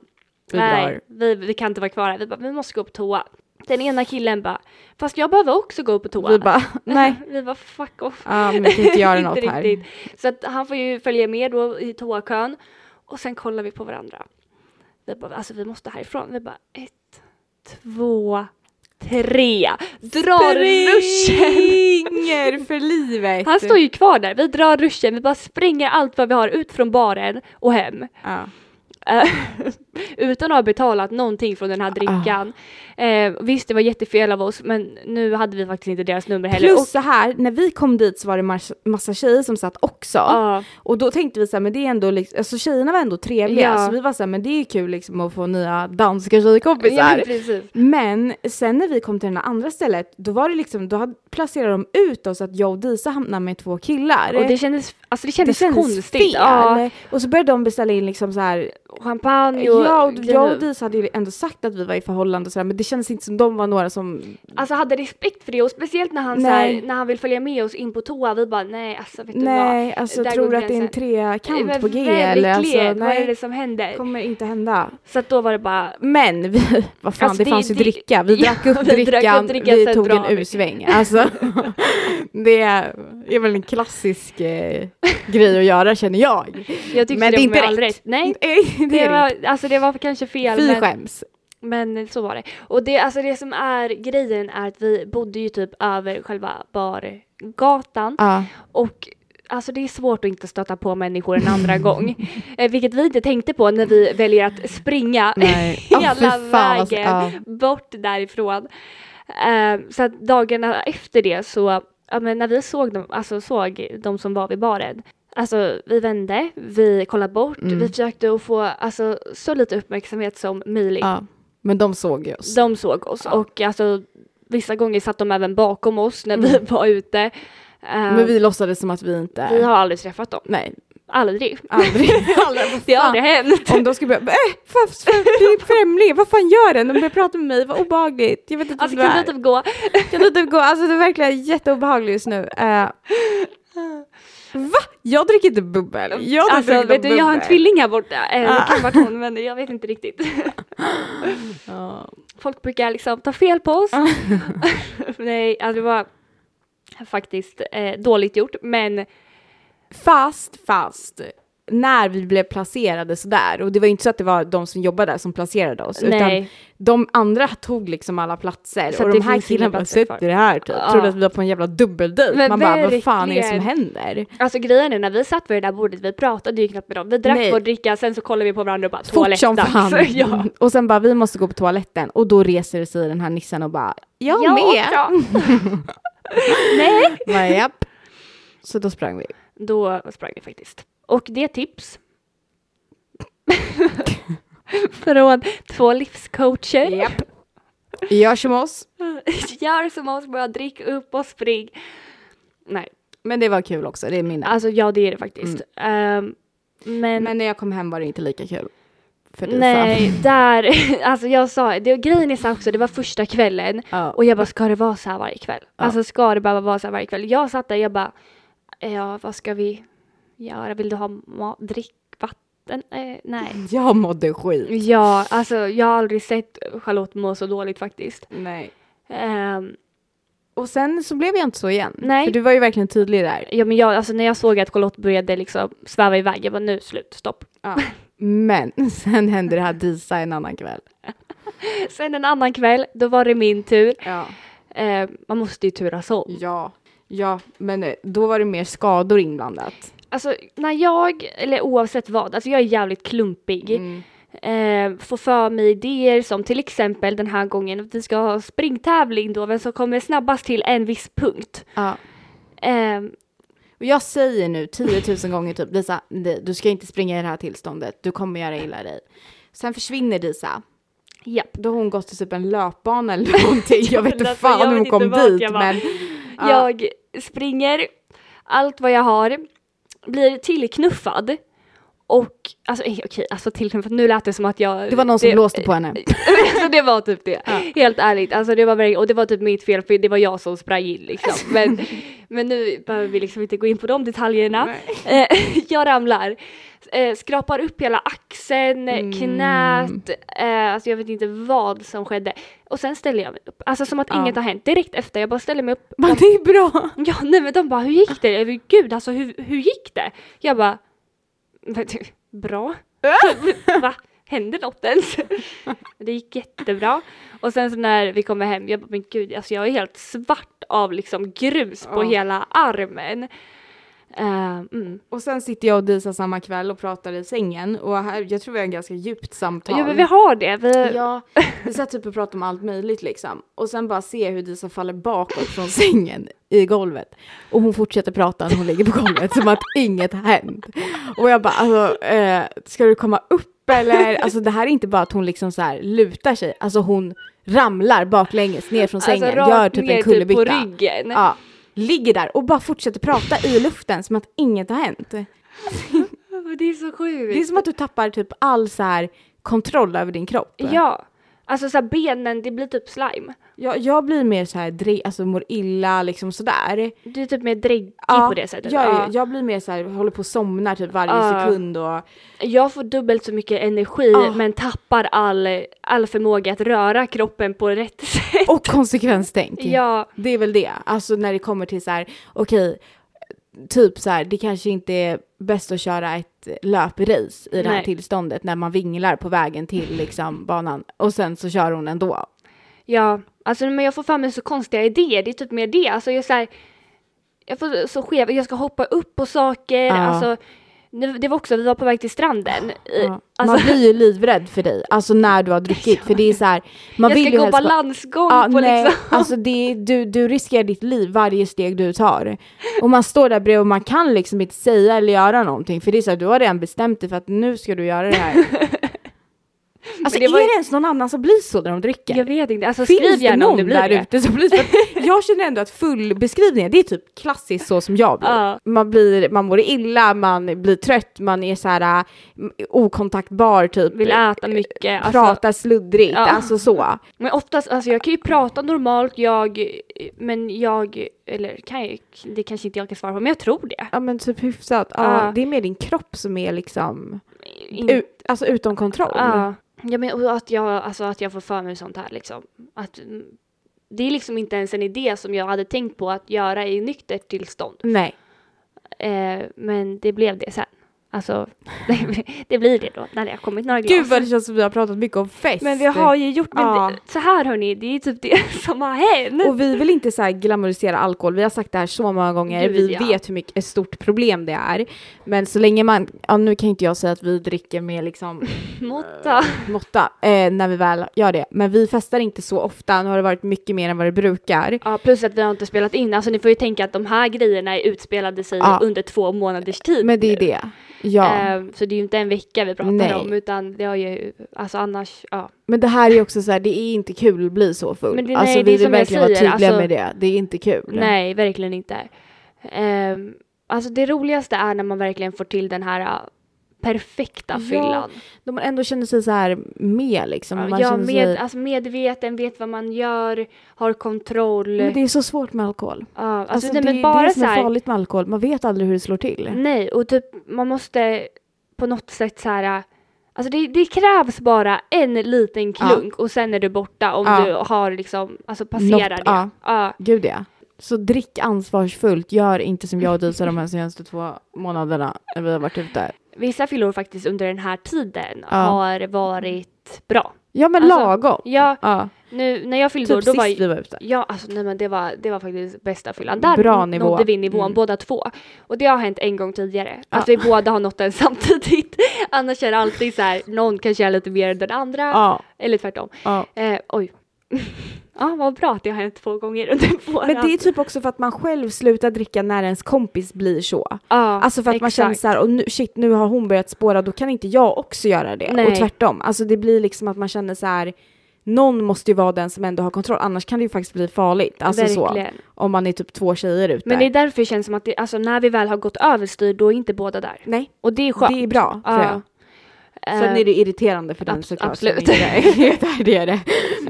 [SPEAKER 2] Vi
[SPEAKER 1] nej,
[SPEAKER 2] drar.
[SPEAKER 1] vi, vi kan inte vara kvar här, vi, bara, vi måste gå på toa. Den ena killen bara, fast jag behöver också gå på toa.
[SPEAKER 2] Vi bara, nej.
[SPEAKER 1] *laughs* vi bara fuck off.
[SPEAKER 2] Ja, men vi kan inte göra något här.
[SPEAKER 1] riktigt. Så att han får ju följa med då i toakön och sen kollar vi på varandra. Vi bara, alltså vi måste härifrån. Vi bara ett, två, tre. Drar *laughs* ruschen.
[SPEAKER 2] Springer för livet.
[SPEAKER 1] Han står ju kvar där. Vi drar ruschen. Vi bara springer allt vad vi har ut från baren och hem.
[SPEAKER 2] Ja.
[SPEAKER 1] Eh, *laughs* utan att ha betalat någonting från
[SPEAKER 2] Ah.
[SPEAKER 1] den här drickan. Eh, visst, det var jättefel av oss, men nu hade vi faktiskt inte deras nummer heller.
[SPEAKER 2] Plus så här, när vi kom dit så var det mars- massa tjejer som satt också.
[SPEAKER 1] Ja.
[SPEAKER 2] Och då tänkte vi så här, men det är ändå liksom, alltså tjejerna var ändå trevliga.
[SPEAKER 1] Ja.
[SPEAKER 2] Så vi var så här, men det är ju kul liksom att få nya danska
[SPEAKER 1] Och, ja,
[SPEAKER 2] tjejkompisar.
[SPEAKER 1] precis.
[SPEAKER 2] Men sen när vi kom till det här andra stället, då var det liksom, då hade, placerade de ut oss att jag och Disa hamnade med två killar.
[SPEAKER 1] och det kändes, alltså det kändes, konstigt.
[SPEAKER 2] fel.
[SPEAKER 1] Ja.
[SPEAKER 2] Och så började de beställa in liksom så här,
[SPEAKER 1] champagne och,
[SPEAKER 2] ja, och jag och
[SPEAKER 1] grejer.
[SPEAKER 2] Disa hade ju ändå sagt att vi var i förhållande och sådär, men det kändes inte som de var några som,
[SPEAKER 1] Alltså hade respekt för det och speciellt när han, så
[SPEAKER 2] Nej.
[SPEAKER 1] här, när han vill följa med oss in på toa, vi bara nej alltså vet
[SPEAKER 2] nej,
[SPEAKER 1] du
[SPEAKER 2] alltså
[SPEAKER 1] där
[SPEAKER 2] tror
[SPEAKER 1] går
[SPEAKER 2] att det är en
[SPEAKER 1] gränsen.
[SPEAKER 2] trekant
[SPEAKER 1] vad? Men
[SPEAKER 2] på G eller
[SPEAKER 1] verkligen,
[SPEAKER 2] alltså,
[SPEAKER 1] vad är det
[SPEAKER 2] nej,
[SPEAKER 1] som händer?
[SPEAKER 2] det kommer inte hända.
[SPEAKER 1] Så att då var det bara
[SPEAKER 2] Men vi, *laughs* vad fan
[SPEAKER 1] Alltså,
[SPEAKER 2] det
[SPEAKER 1] det-
[SPEAKER 2] fanns ju
[SPEAKER 1] det-
[SPEAKER 2] dricka,
[SPEAKER 1] *laughs*
[SPEAKER 2] vi
[SPEAKER 1] Ja,
[SPEAKER 2] drack upp
[SPEAKER 1] vi drack upp
[SPEAKER 2] drickan, vi,
[SPEAKER 1] drickan, sen
[SPEAKER 2] tog
[SPEAKER 1] drar
[SPEAKER 2] en
[SPEAKER 1] vi.
[SPEAKER 2] U-sväng. Alltså, *laughs* det är väl en klassisk eh, grej att göra känner jag.
[SPEAKER 1] Jag tyckte
[SPEAKER 2] Men
[SPEAKER 1] det,
[SPEAKER 2] det
[SPEAKER 1] var
[SPEAKER 2] är inte
[SPEAKER 1] med all
[SPEAKER 2] rätt.
[SPEAKER 1] rätt. Nej,
[SPEAKER 2] *laughs* Nej, det
[SPEAKER 1] det
[SPEAKER 2] är det
[SPEAKER 1] var, alltså det det var kanske fel.
[SPEAKER 2] Fy
[SPEAKER 1] men-
[SPEAKER 2] skäms.
[SPEAKER 1] Men så var det. Och det, alltså det som är grejen är att vi bodde ju typ över själva bargatan
[SPEAKER 2] Ja.
[SPEAKER 1] och alltså det är svårt att inte stöta på människor en andra
[SPEAKER 2] *laughs*
[SPEAKER 1] gång. Eh, vilket vi inte tänkte på när vi väljer att springa
[SPEAKER 2] Nej.
[SPEAKER 1] *laughs* hela
[SPEAKER 2] Ja, fy fan, alltså,
[SPEAKER 1] vägen
[SPEAKER 2] ja.
[SPEAKER 1] bort därifrån. Eh, så att dagarna efter det så, ja, men när vi såg dem, alltså såg de som var vid baren, alltså vi vände, vi kollade bort,
[SPEAKER 2] Mm.
[SPEAKER 1] vi försökte att få alltså, så lite uppmärksamhet som möjligt.
[SPEAKER 2] ja. Men de såg ju oss.
[SPEAKER 1] De såg oss och alltså vissa gånger satt de även bakom oss när vi var ute. Eh,
[SPEAKER 2] Mm. Men
[SPEAKER 1] vi,
[SPEAKER 2] vi låtsades som att vi inte...
[SPEAKER 1] har aldrig träffat dem.
[SPEAKER 2] Nej,
[SPEAKER 1] Aldrig. *laughs*
[SPEAKER 2] aldrig. aldrig vad
[SPEAKER 1] Det har
[SPEAKER 2] Ah, fan.
[SPEAKER 1] aldrig
[SPEAKER 2] *laughs*
[SPEAKER 1] hänt.
[SPEAKER 2] Om de skulle börja... Äh, fan, fan, det är en främling, vad fan gör den? De börjar prata med mig, vad obehagligt. Jag vet inte
[SPEAKER 1] Alltså
[SPEAKER 2] vem
[SPEAKER 1] kan
[SPEAKER 2] det
[SPEAKER 1] du
[SPEAKER 2] är.
[SPEAKER 1] typ gå?
[SPEAKER 2] Kan du typ gå? Alltså det är verkligen jätteobehagligt just nu. Eh, va? Jag dricker inte bubbel. Jag har inte
[SPEAKER 1] Alltså
[SPEAKER 2] druckit
[SPEAKER 1] vet
[SPEAKER 2] någon
[SPEAKER 1] du, jag har en
[SPEAKER 2] bubbel.
[SPEAKER 1] tvilling här borta. Eh, Det
[SPEAKER 2] Ah.
[SPEAKER 1] kan varit hon men jag vet inte riktigt. *laughs* Folk brukar liksom ta fel på
[SPEAKER 2] Ah.
[SPEAKER 1] oss. *laughs* Nej, alltså det var faktiskt eh, dåligt gjort men
[SPEAKER 2] Fast, fast, när vi blev placerade sådär, och det var ju inte så att det var de som jobbade där som placerade oss, utan
[SPEAKER 1] nej.
[SPEAKER 2] de andra tog liksom alla platser
[SPEAKER 1] Så att
[SPEAKER 2] och
[SPEAKER 1] det
[SPEAKER 2] de här
[SPEAKER 1] finns inga
[SPEAKER 2] killarna bara
[SPEAKER 1] platser kvar.
[SPEAKER 2] sitter här typ,
[SPEAKER 1] Ja.
[SPEAKER 2] trodde att vi var på en jävla dubbeldejt.
[SPEAKER 1] Men
[SPEAKER 2] Man bara, vad fan är det som
[SPEAKER 1] verkligen.
[SPEAKER 2] händer?
[SPEAKER 1] Alltså grejen är när vi satt vid det där bordet, vi pratade ju knappt med dem. Vi drack
[SPEAKER 2] Nej.
[SPEAKER 1] vår dricka, sen så kollade vi på varandra och bara
[SPEAKER 2] Fort som
[SPEAKER 1] "Toalettdags."
[SPEAKER 2] fan.
[SPEAKER 1] *laughs* ja.
[SPEAKER 2] Och sen bara, vi måste gå på toaletten. Och då reser sig den här nissen och bara, jag
[SPEAKER 1] Jag
[SPEAKER 2] med. *laughs*
[SPEAKER 1] också. *laughs* Nej.
[SPEAKER 2] Bara, *laughs* Japp. Så då sprang vi.
[SPEAKER 1] Då sprang vi faktiskt. Och det är tips. *laughs* Från två livscoacher.
[SPEAKER 2] Japp. Gör som oss.
[SPEAKER 1] *laughs* Gör som oss, bara drick upp och spring. Nej,
[SPEAKER 2] Men det var kul också, det är min.
[SPEAKER 1] alltså ja det är det faktiskt. Ehm, men,
[SPEAKER 2] Mm. Men när jag kom hem var det inte lika kul. För Lisa.
[SPEAKER 1] nej, *laughs* där, alltså jag sa, det, grejen är så här också, det var första kvällen
[SPEAKER 2] *laughs* Ja.
[SPEAKER 1] och jag bara ska det vara så här varje kväll? Alltså ska det bara vara så här varje kväll? Jag satt där, jag bara, ja vad ska vi göra? Vill du ha mat, drick, vatten? Eh, nej.
[SPEAKER 2] Jag mådde skit.
[SPEAKER 1] Ja, alltså jag har aldrig sett Charlotte må så dåligt faktiskt.
[SPEAKER 2] Nej.
[SPEAKER 1] Ehm,
[SPEAKER 2] Och sen så blev jag inte så igen.
[SPEAKER 1] Nej.
[SPEAKER 2] För du var ju verkligen tydlig där.
[SPEAKER 1] ja, men jag, alltså när jag såg att Charlotte började liksom sväva iväg, jag bara nu slut, stopp. *laughs*
[SPEAKER 2] *laughs* Men sen hände det här Disa en annan kväll.
[SPEAKER 1] Sen en annan kväll, då var det min tur.
[SPEAKER 2] Ja.
[SPEAKER 1] Ehm, man måste ju turas om.
[SPEAKER 2] Ja. Ja, men eh, då var det mer skador inblandat.
[SPEAKER 1] Alltså när jag, eller oavsett vad, alltså jag är jävligt klumpig. Ehm, får för mig idéer som till exempel den här gången att vi ska ha springtävling då, vem som kommer snabbast till en viss punkt.
[SPEAKER 2] Ja.
[SPEAKER 1] Ehm,
[SPEAKER 2] Och jag säger nu 10 000 gånger typ Disa, nej, du ska inte springa i det här tillståndet, du kommer göra illa dig. Sen försvinner Disa.
[SPEAKER 1] japp.
[SPEAKER 2] Då har hon gått till typ en löpbana *laughs* eller någonting. Jag vet
[SPEAKER 1] men
[SPEAKER 2] inte
[SPEAKER 1] alltså,
[SPEAKER 2] fan
[SPEAKER 1] jag
[SPEAKER 2] hur
[SPEAKER 1] vet
[SPEAKER 2] hon
[SPEAKER 1] inte
[SPEAKER 2] kom
[SPEAKER 1] vart
[SPEAKER 2] dit
[SPEAKER 1] jag var.
[SPEAKER 2] men Ja.
[SPEAKER 1] Jag springer allt vad jag har, blir tillknuffad och alltså eh, okej, alltså tillknuffad, nu lät det *laughs* som att jag...
[SPEAKER 2] det var någon som blåste på *laughs* henne.
[SPEAKER 1] alltså det var typ det, helt ärligt. Alltså det var verkligen, och det var typ mitt fel för det var jag som sprang in
[SPEAKER 2] *laughs*
[SPEAKER 1] liksom. Men, men nu behöver vi liksom inte gå in på de detaljerna. Eh, *laughs* jag ramlar, eh, skrapar upp hela axeln, eh,
[SPEAKER 2] Mm.
[SPEAKER 1] knät, eh, alltså jag vet inte vad som skedde. Och sen ställer jag mig upp, alltså som att
[SPEAKER 2] Ja.
[SPEAKER 1] inget har hänt. Direkt efter, jag bara ställer mig upp,
[SPEAKER 2] Men det är bra.
[SPEAKER 1] Ja, nej men de bara hur gick det? Eh, Gud alltså hur, hur gick det? Jag bara "Men du, bra. *laughs* Va? Hände något ens? *laughs* Det gick jättebra. Och sen så när vi kommer hem, jag bara men gud alltså jag är helt svart av liksom grus på
[SPEAKER 2] Ja.
[SPEAKER 1] hela armen. Eh, mm.
[SPEAKER 2] Och sen sitter jag och Disa samma kväll och pratar i sängen och här, jag tror vi har en ganska djupt samtal.
[SPEAKER 1] Ja men vi har det. Vi,
[SPEAKER 2] Ja, vi satt typ och pratade om allt möjligt liksom. Och sen bara se hur Disa faller bakåt från sängen i golvet. Och hon fortsätter prata när hon ligger på golvet som att inget hänt. Och jag bara, alltså, eh, ska du komma upp eller? Alltså det här är inte bara att hon liksom så här lutar sig, alltså hon ramlar baklänges ner från sängen,
[SPEAKER 1] alltså, rakt
[SPEAKER 2] gör typ
[SPEAKER 1] ner
[SPEAKER 2] en kullerbytta.
[SPEAKER 1] på ryggen.
[SPEAKER 2] Ja, ligger där och bara fortsätter prata i luften som att inget har hänt.
[SPEAKER 1] Det är så sjukt.
[SPEAKER 2] Det är som att du tappar typ all så här kontroll över din kropp.
[SPEAKER 1] Ja. Alltså så här, benen, det blir typ slime.
[SPEAKER 2] Jag, jag blir mer så här, dre- alltså mår illa liksom sådär.
[SPEAKER 1] Du är typ mer dräggig på det sättet.
[SPEAKER 2] Jag,
[SPEAKER 1] Ja.
[SPEAKER 2] är- jag blir mer så här, håller på och somnar typ varje
[SPEAKER 1] Ja.
[SPEAKER 2] sekund och
[SPEAKER 1] Jag får dubbelt så mycket energi
[SPEAKER 2] Ah.
[SPEAKER 1] men tappar all, all förmåga att röra kroppen på rätt *laughs* sätt.
[SPEAKER 2] Och konsekvenstänk.
[SPEAKER 1] Ja.
[SPEAKER 2] Det är väl det. Alltså när det kommer till så här, okej, typ så här, det kanske inte är bäst att köra ett löprace i det här
[SPEAKER 1] Nej.
[SPEAKER 2] tillståndet när man vinglar på vägen till liksom banan och sen så kör hon ändå.
[SPEAKER 1] Ja, alltså men jag får fram mig så konstiga idéer, det är typ mer det. Alltså jag är så här, jag får så skev, jag ska hoppa upp på saker,
[SPEAKER 2] Ja.
[SPEAKER 1] alltså nu- det var också, vi var på väg till stranden. I-
[SPEAKER 2] Ja.
[SPEAKER 1] Alltså,
[SPEAKER 2] man blir ju livrädd för dig, alltså när du har druckit för det är så här, man
[SPEAKER 1] jag
[SPEAKER 2] vill
[SPEAKER 1] ska
[SPEAKER 2] ju
[SPEAKER 1] gå
[SPEAKER 2] helst bara-
[SPEAKER 1] balansgång
[SPEAKER 2] Ja,
[SPEAKER 1] på
[SPEAKER 2] nej,
[SPEAKER 1] liksom.
[SPEAKER 2] alltså det, är- du, du riskerar ditt liv varje steg du tar. Och man står där bredvid och man kan liksom inte säga eller göra någonting för det är så här, du har redan bestämt dig för att nu ska du göra det
[SPEAKER 1] *laughs*
[SPEAKER 2] här. Alltså
[SPEAKER 1] det var
[SPEAKER 2] är
[SPEAKER 1] ju-
[SPEAKER 2] det ens någon annan som blir så när de dricker?
[SPEAKER 1] *laughs* Jag vet inte, alltså
[SPEAKER 2] Finns
[SPEAKER 1] skriv
[SPEAKER 2] det
[SPEAKER 1] gärna
[SPEAKER 2] någon
[SPEAKER 1] om det blir
[SPEAKER 2] där
[SPEAKER 1] det.
[SPEAKER 2] ute som blir för att Jag känner ändå att fullbeskrivningar, det är typ klassiskt så som jag blir.
[SPEAKER 1] Ja.
[SPEAKER 2] Man, blir man mår illa, man blir trött, man är så här äh, okontaktbar typ.
[SPEAKER 1] *laughs* Vill äta mycket. Alltså,
[SPEAKER 2] Pratar sluddrigt,
[SPEAKER 1] Ja.
[SPEAKER 2] alltså så.
[SPEAKER 1] men oftast, alltså jag kan ju prata normalt, jag, men jag, eller kan jag, det kanske inte jag kan svara på, men jag tror det.
[SPEAKER 2] Ja men typ hyfsat. Ja,
[SPEAKER 1] Ja.
[SPEAKER 2] Det är mer din kropp som är liksom
[SPEAKER 1] In-
[SPEAKER 2] u- alltså utom kontroll.
[SPEAKER 1] Ja. ja men och att jag, alltså att jag får för mig sånt här liksom. Att, mm, det är liksom inte ens en idé som jag hade tänkt på att göra i nyktert tillstånd.
[SPEAKER 2] Nej.
[SPEAKER 1] Eh, men det blev det sen. Alltså, *laughs* det, det blir det då när det har kommit några glas.
[SPEAKER 2] Gud vad det känns som vi har pratat mycket om fest.
[SPEAKER 1] men vi har ju gjort, men
[SPEAKER 2] Ja.
[SPEAKER 1] det, så här hörni, det är typ det *laughs* som har hänt.
[SPEAKER 2] Och vi vill inte så här glamourisera alkohol, vi har sagt det här så många gånger,
[SPEAKER 1] Gud,
[SPEAKER 2] vi
[SPEAKER 1] ja.
[SPEAKER 2] vet hur mycket ett stort problem det är. Men så länge man, ja, nu kan inte jag säga att vi dricker med liksom
[SPEAKER 1] *laughs* Måtta.
[SPEAKER 2] måtta eh, när vi väl gör det, men vi festar inte så ofta, nu har det varit mycket mer än vad det brukar.
[SPEAKER 1] Ja, plus att vi har inte spelat in. Alltså ni får ju tänka att de här grejerna är utspelade sig
[SPEAKER 2] Ja.
[SPEAKER 1] under två månaders tid.
[SPEAKER 2] Men det är det, ja.
[SPEAKER 1] Eh, så det är ju inte en vecka vi pratar
[SPEAKER 2] Nej.
[SPEAKER 1] om utan det har ju, alltså annars, ja.
[SPEAKER 2] Men det här är ju också så här, det är inte kul att bli så full.
[SPEAKER 1] Men det-
[SPEAKER 2] alltså
[SPEAKER 1] nej, det
[SPEAKER 2] vi
[SPEAKER 1] är
[SPEAKER 2] vill
[SPEAKER 1] som jag
[SPEAKER 2] verkligen vara
[SPEAKER 1] säger,
[SPEAKER 2] tydliga
[SPEAKER 1] alltså-
[SPEAKER 2] med det, det är inte kul.
[SPEAKER 1] Nej, verkligen inte. Ehm, alltså det roligaste är när man verkligen får till den här ah, perfekta
[SPEAKER 2] Ja,
[SPEAKER 1] fyllan.
[SPEAKER 2] Då man ändå känner sig så här med liksom. Man
[SPEAKER 1] ja,
[SPEAKER 2] känner
[SPEAKER 1] med,
[SPEAKER 2] sig,
[SPEAKER 1] alltså medveten, vet vad man gör, har kontroll.
[SPEAKER 2] men det är så svårt med alkohol.
[SPEAKER 1] Ja, alltså,
[SPEAKER 2] Alltså,
[SPEAKER 1] nej,
[SPEAKER 2] det,
[SPEAKER 1] men
[SPEAKER 2] det är
[SPEAKER 1] bara
[SPEAKER 2] det
[SPEAKER 1] så
[SPEAKER 2] som är
[SPEAKER 1] här,
[SPEAKER 2] farligt med alkohol, man vet aldrig hur det slår till.
[SPEAKER 1] nej, och typ man måste på något sätt så här, ah, alltså det, det krävs bara en liten
[SPEAKER 2] Ja.
[SPEAKER 1] klunk och sen är du borta om
[SPEAKER 2] Ja.
[SPEAKER 1] du har liksom, alltså passerar
[SPEAKER 2] Något,
[SPEAKER 1] det.
[SPEAKER 2] ja.
[SPEAKER 1] Ja.
[SPEAKER 2] Gud ja. Så drick ansvarsfullt, gör inte som jag och Disa de här senaste två månaderna när vi har varit ute.
[SPEAKER 1] Vissa fyllor faktiskt under den här tiden
[SPEAKER 2] Ja.
[SPEAKER 1] har varit bra.
[SPEAKER 2] Ja men
[SPEAKER 1] Alltså,
[SPEAKER 2] lagom.
[SPEAKER 1] Ja,
[SPEAKER 2] Ja,
[SPEAKER 1] Nu när jag fyllde
[SPEAKER 2] typ
[SPEAKER 1] år, då
[SPEAKER 2] sist
[SPEAKER 1] var
[SPEAKER 2] vi var ute.
[SPEAKER 1] Ja, alltså nej men det var, det var faktiskt bästa fyllan. Där
[SPEAKER 2] Bra
[SPEAKER 1] n-
[SPEAKER 2] nivå.
[SPEAKER 1] nådde vi nivån
[SPEAKER 2] Mm.
[SPEAKER 1] båda två. Och det har hänt en gång tidigare, att vi båda har nått den *laughs* samtidigt. Annars är det alltid så här, någon kanske är lite mer än den andra,
[SPEAKER 2] Ja,
[SPEAKER 1] eller tvärtom.
[SPEAKER 2] ja.
[SPEAKER 1] Eh, oj. *laughs* ja, vad bra att det har hänt två gånger under våran.
[SPEAKER 2] Men det är typ också för att man själv slutar dricka när ens kompis blir så.
[SPEAKER 1] ja,
[SPEAKER 2] Alltså för att man
[SPEAKER 1] exakt.
[SPEAKER 2] känner så här, och nu, shit nu har hon börjat spåra, då kan inte jag också göra det.
[SPEAKER 1] Nej.
[SPEAKER 2] Och tvärtom, alltså det blir liksom att man känner så här, någon måste ju vara den som ändå har kontroll, annars kan det ju faktiskt bli farligt. Alltså
[SPEAKER 1] Verkligen.
[SPEAKER 2] så, om man är typ två tjejer ute.
[SPEAKER 1] Men det är därför det känns som att det, alltså, när vi väl har gått överstyr, då är inte båda där.
[SPEAKER 2] Nej,
[SPEAKER 1] Och det är skönt.
[SPEAKER 2] det är bra tror jag.
[SPEAKER 1] Ja.
[SPEAKER 2] Sen
[SPEAKER 1] Eh,
[SPEAKER 2] är det irriterande för den
[SPEAKER 1] abs-
[SPEAKER 2] såklart.
[SPEAKER 1] absolut.
[SPEAKER 2] Som inte är där, *laughs* det är det.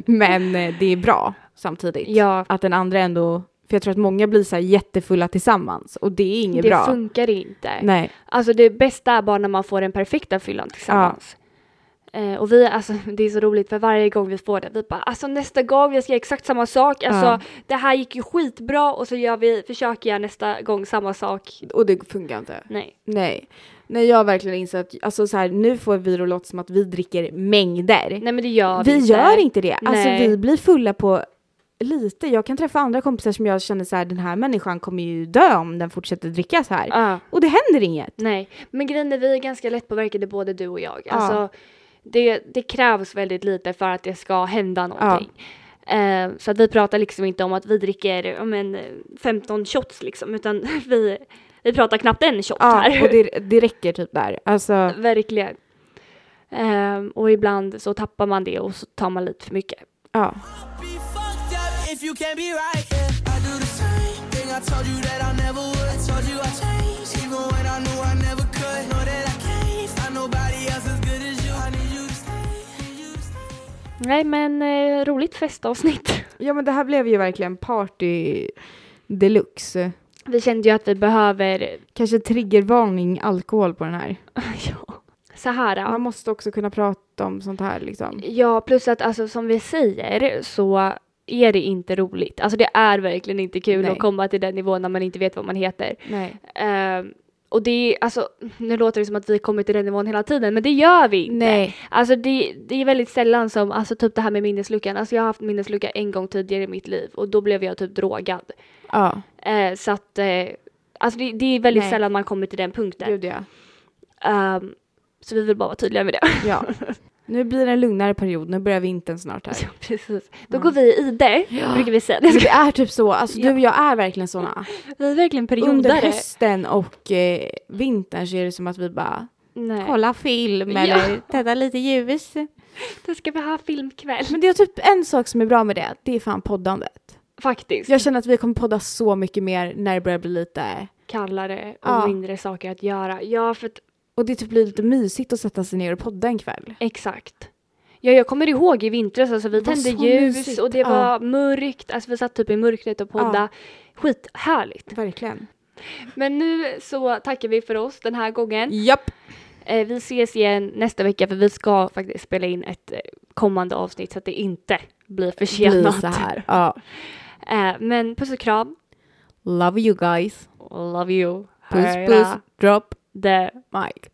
[SPEAKER 2] Men eh, det är bra samtidigt.
[SPEAKER 1] Ja.
[SPEAKER 2] Att den andra ändå, för jag tror att många blir så här jättefulla tillsammans och det är inget
[SPEAKER 1] det
[SPEAKER 2] bra.
[SPEAKER 1] funkar inte.
[SPEAKER 2] Nej.
[SPEAKER 1] Alltså det bästa är bara när man får den perfekta fyllan tillsammans. Eh, och vi, alltså *laughs* det är så roligt för varje gång vi får det, vi bara alltså nästa gång jag ska göra exakt samma sak, alltså
[SPEAKER 2] Ja.
[SPEAKER 1] det här gick ju skitbra och så gör vi, försöker jag nästa gång samma sak.
[SPEAKER 2] Och det funkar inte.
[SPEAKER 1] Nej.
[SPEAKER 2] Nej. Nej, jag har verkligen insett, alltså så här, nu får vi det att låta som att vi dricker mängder.
[SPEAKER 1] Nej men det gör vi,
[SPEAKER 2] vi gör inte det. Alltså
[SPEAKER 1] Nej.
[SPEAKER 2] vi blir fulla på lite. Jag kan träffa andra kompisar som jag känner så här, den här människan kommer ju dö om den fortsätter dricka så här.
[SPEAKER 1] Ja,
[SPEAKER 2] Och det händer inget.
[SPEAKER 1] nej. Men grejen är vi är ganska lättpåverkade både du och jag. Alltså det, det krävs väldigt lite för att det ska hända någonting. Eh, så att vi pratar liksom inte om att vi dricker ja, men, 15 shots liksom utan *laughs* vi, vi pratar knappt en shot här.
[SPEAKER 2] Ja, och det, det räcker typ där. Alltså,
[SPEAKER 1] *laughs* Verkligen. Ehm, och ibland så tappar man det och så tar man lite för mycket.
[SPEAKER 2] ja.
[SPEAKER 6] Be fucked up if you can't be right. Yeah. I do the same thing. I told you that I never would. I told you I changed, even when I knew I never could. Know that I can't find nobody else as good as you. I need you to stay. Need you to stay.
[SPEAKER 1] Nej men eh, roligt festavsnitt. *laughs*
[SPEAKER 2] ja, men det här blev ju verkligen party deluxe.
[SPEAKER 1] Vi kände ju att vi behöver, *laughs*
[SPEAKER 2] Kanske triggervarning alkohol på den här.
[SPEAKER 1] ja, så här.
[SPEAKER 2] Man
[SPEAKER 1] Ja.
[SPEAKER 2] måste också kunna prata om sånt här liksom.
[SPEAKER 1] ja, plus att alltså som vi säger så är det inte roligt. Alltså det är verkligen inte kul
[SPEAKER 2] Nej.
[SPEAKER 1] att komma till den nivån när man inte vet vad man heter.
[SPEAKER 2] Nej.
[SPEAKER 1] Ehm, och det är alltså, nu låter det som att vi kommer till den nivån hela tiden, men det gör vi inte.
[SPEAKER 2] Nej.
[SPEAKER 1] Alltså det, det är väldigt sällan som, alltså typ det här med minnesluckan, alltså jag har haft minneslucka en gång tidigare i mitt liv och då blev jag typ drogad.
[SPEAKER 2] Ja.
[SPEAKER 1] Eh, så att, eh, alltså det, det är väldigt
[SPEAKER 2] Nej.
[SPEAKER 1] sällan man kommer till den punkten.
[SPEAKER 2] Gud ja.
[SPEAKER 1] Ehm, så vi vill bara vara tydliga med det.
[SPEAKER 2] ja. *laughs* Nu blir det en lugnare period. Nu börjar vintern snart här.
[SPEAKER 1] *laughs* Ja, precis. Då går vi i det, brukar vi säga.
[SPEAKER 2] Men *laughs* det är typ så. Alltså du och jag är verkligen såna.
[SPEAKER 1] Vi är verkligen
[SPEAKER 2] Under
[SPEAKER 1] periodare.
[SPEAKER 2] hösten och eh, vintern så är det som att vi bara
[SPEAKER 1] Nej.
[SPEAKER 2] kolla film
[SPEAKER 1] Ja.
[SPEAKER 2] eller tädda lite ljus.
[SPEAKER 1] Då ska vi ha filmkväll. *laughs*
[SPEAKER 2] Men det är typ en sak som är bra med det. Det är fan poddandet.
[SPEAKER 1] Faktiskt.
[SPEAKER 2] Jag känner att vi kommer podda så mycket mer när det börjar bli lite
[SPEAKER 1] Kallare och
[SPEAKER 2] Ja.
[SPEAKER 1] mindre saker att göra. Ja, för att,
[SPEAKER 2] och det typ blir lite mysigt att sätta sig ner och podda en kväll.
[SPEAKER 1] exakt. Ja, jag kommer ihåg i vintras, alltså vi
[SPEAKER 2] Det var
[SPEAKER 1] tände
[SPEAKER 2] så
[SPEAKER 1] ljus
[SPEAKER 2] mysigt.
[SPEAKER 1] och det
[SPEAKER 2] Ja.
[SPEAKER 1] var mörkt. Alltså vi satt typ i mörkret och poddade. Skithärligt.
[SPEAKER 2] Verkligen.
[SPEAKER 1] Men nu så tackar vi för oss den här gången.
[SPEAKER 2] Japp.
[SPEAKER 1] Eh, vi ses igen nästa vecka för vi ska faktiskt spela in ett eh, kommande avsnitt så att det inte blir
[SPEAKER 2] Blir
[SPEAKER 1] försenat.
[SPEAKER 2] så här. Ja.
[SPEAKER 1] Eh, men puss och kram.
[SPEAKER 2] Love you guys.
[SPEAKER 1] Love you.
[SPEAKER 2] Puss
[SPEAKER 1] Hej då.
[SPEAKER 2] puss. Drop
[SPEAKER 1] Det
[SPEAKER 2] mic.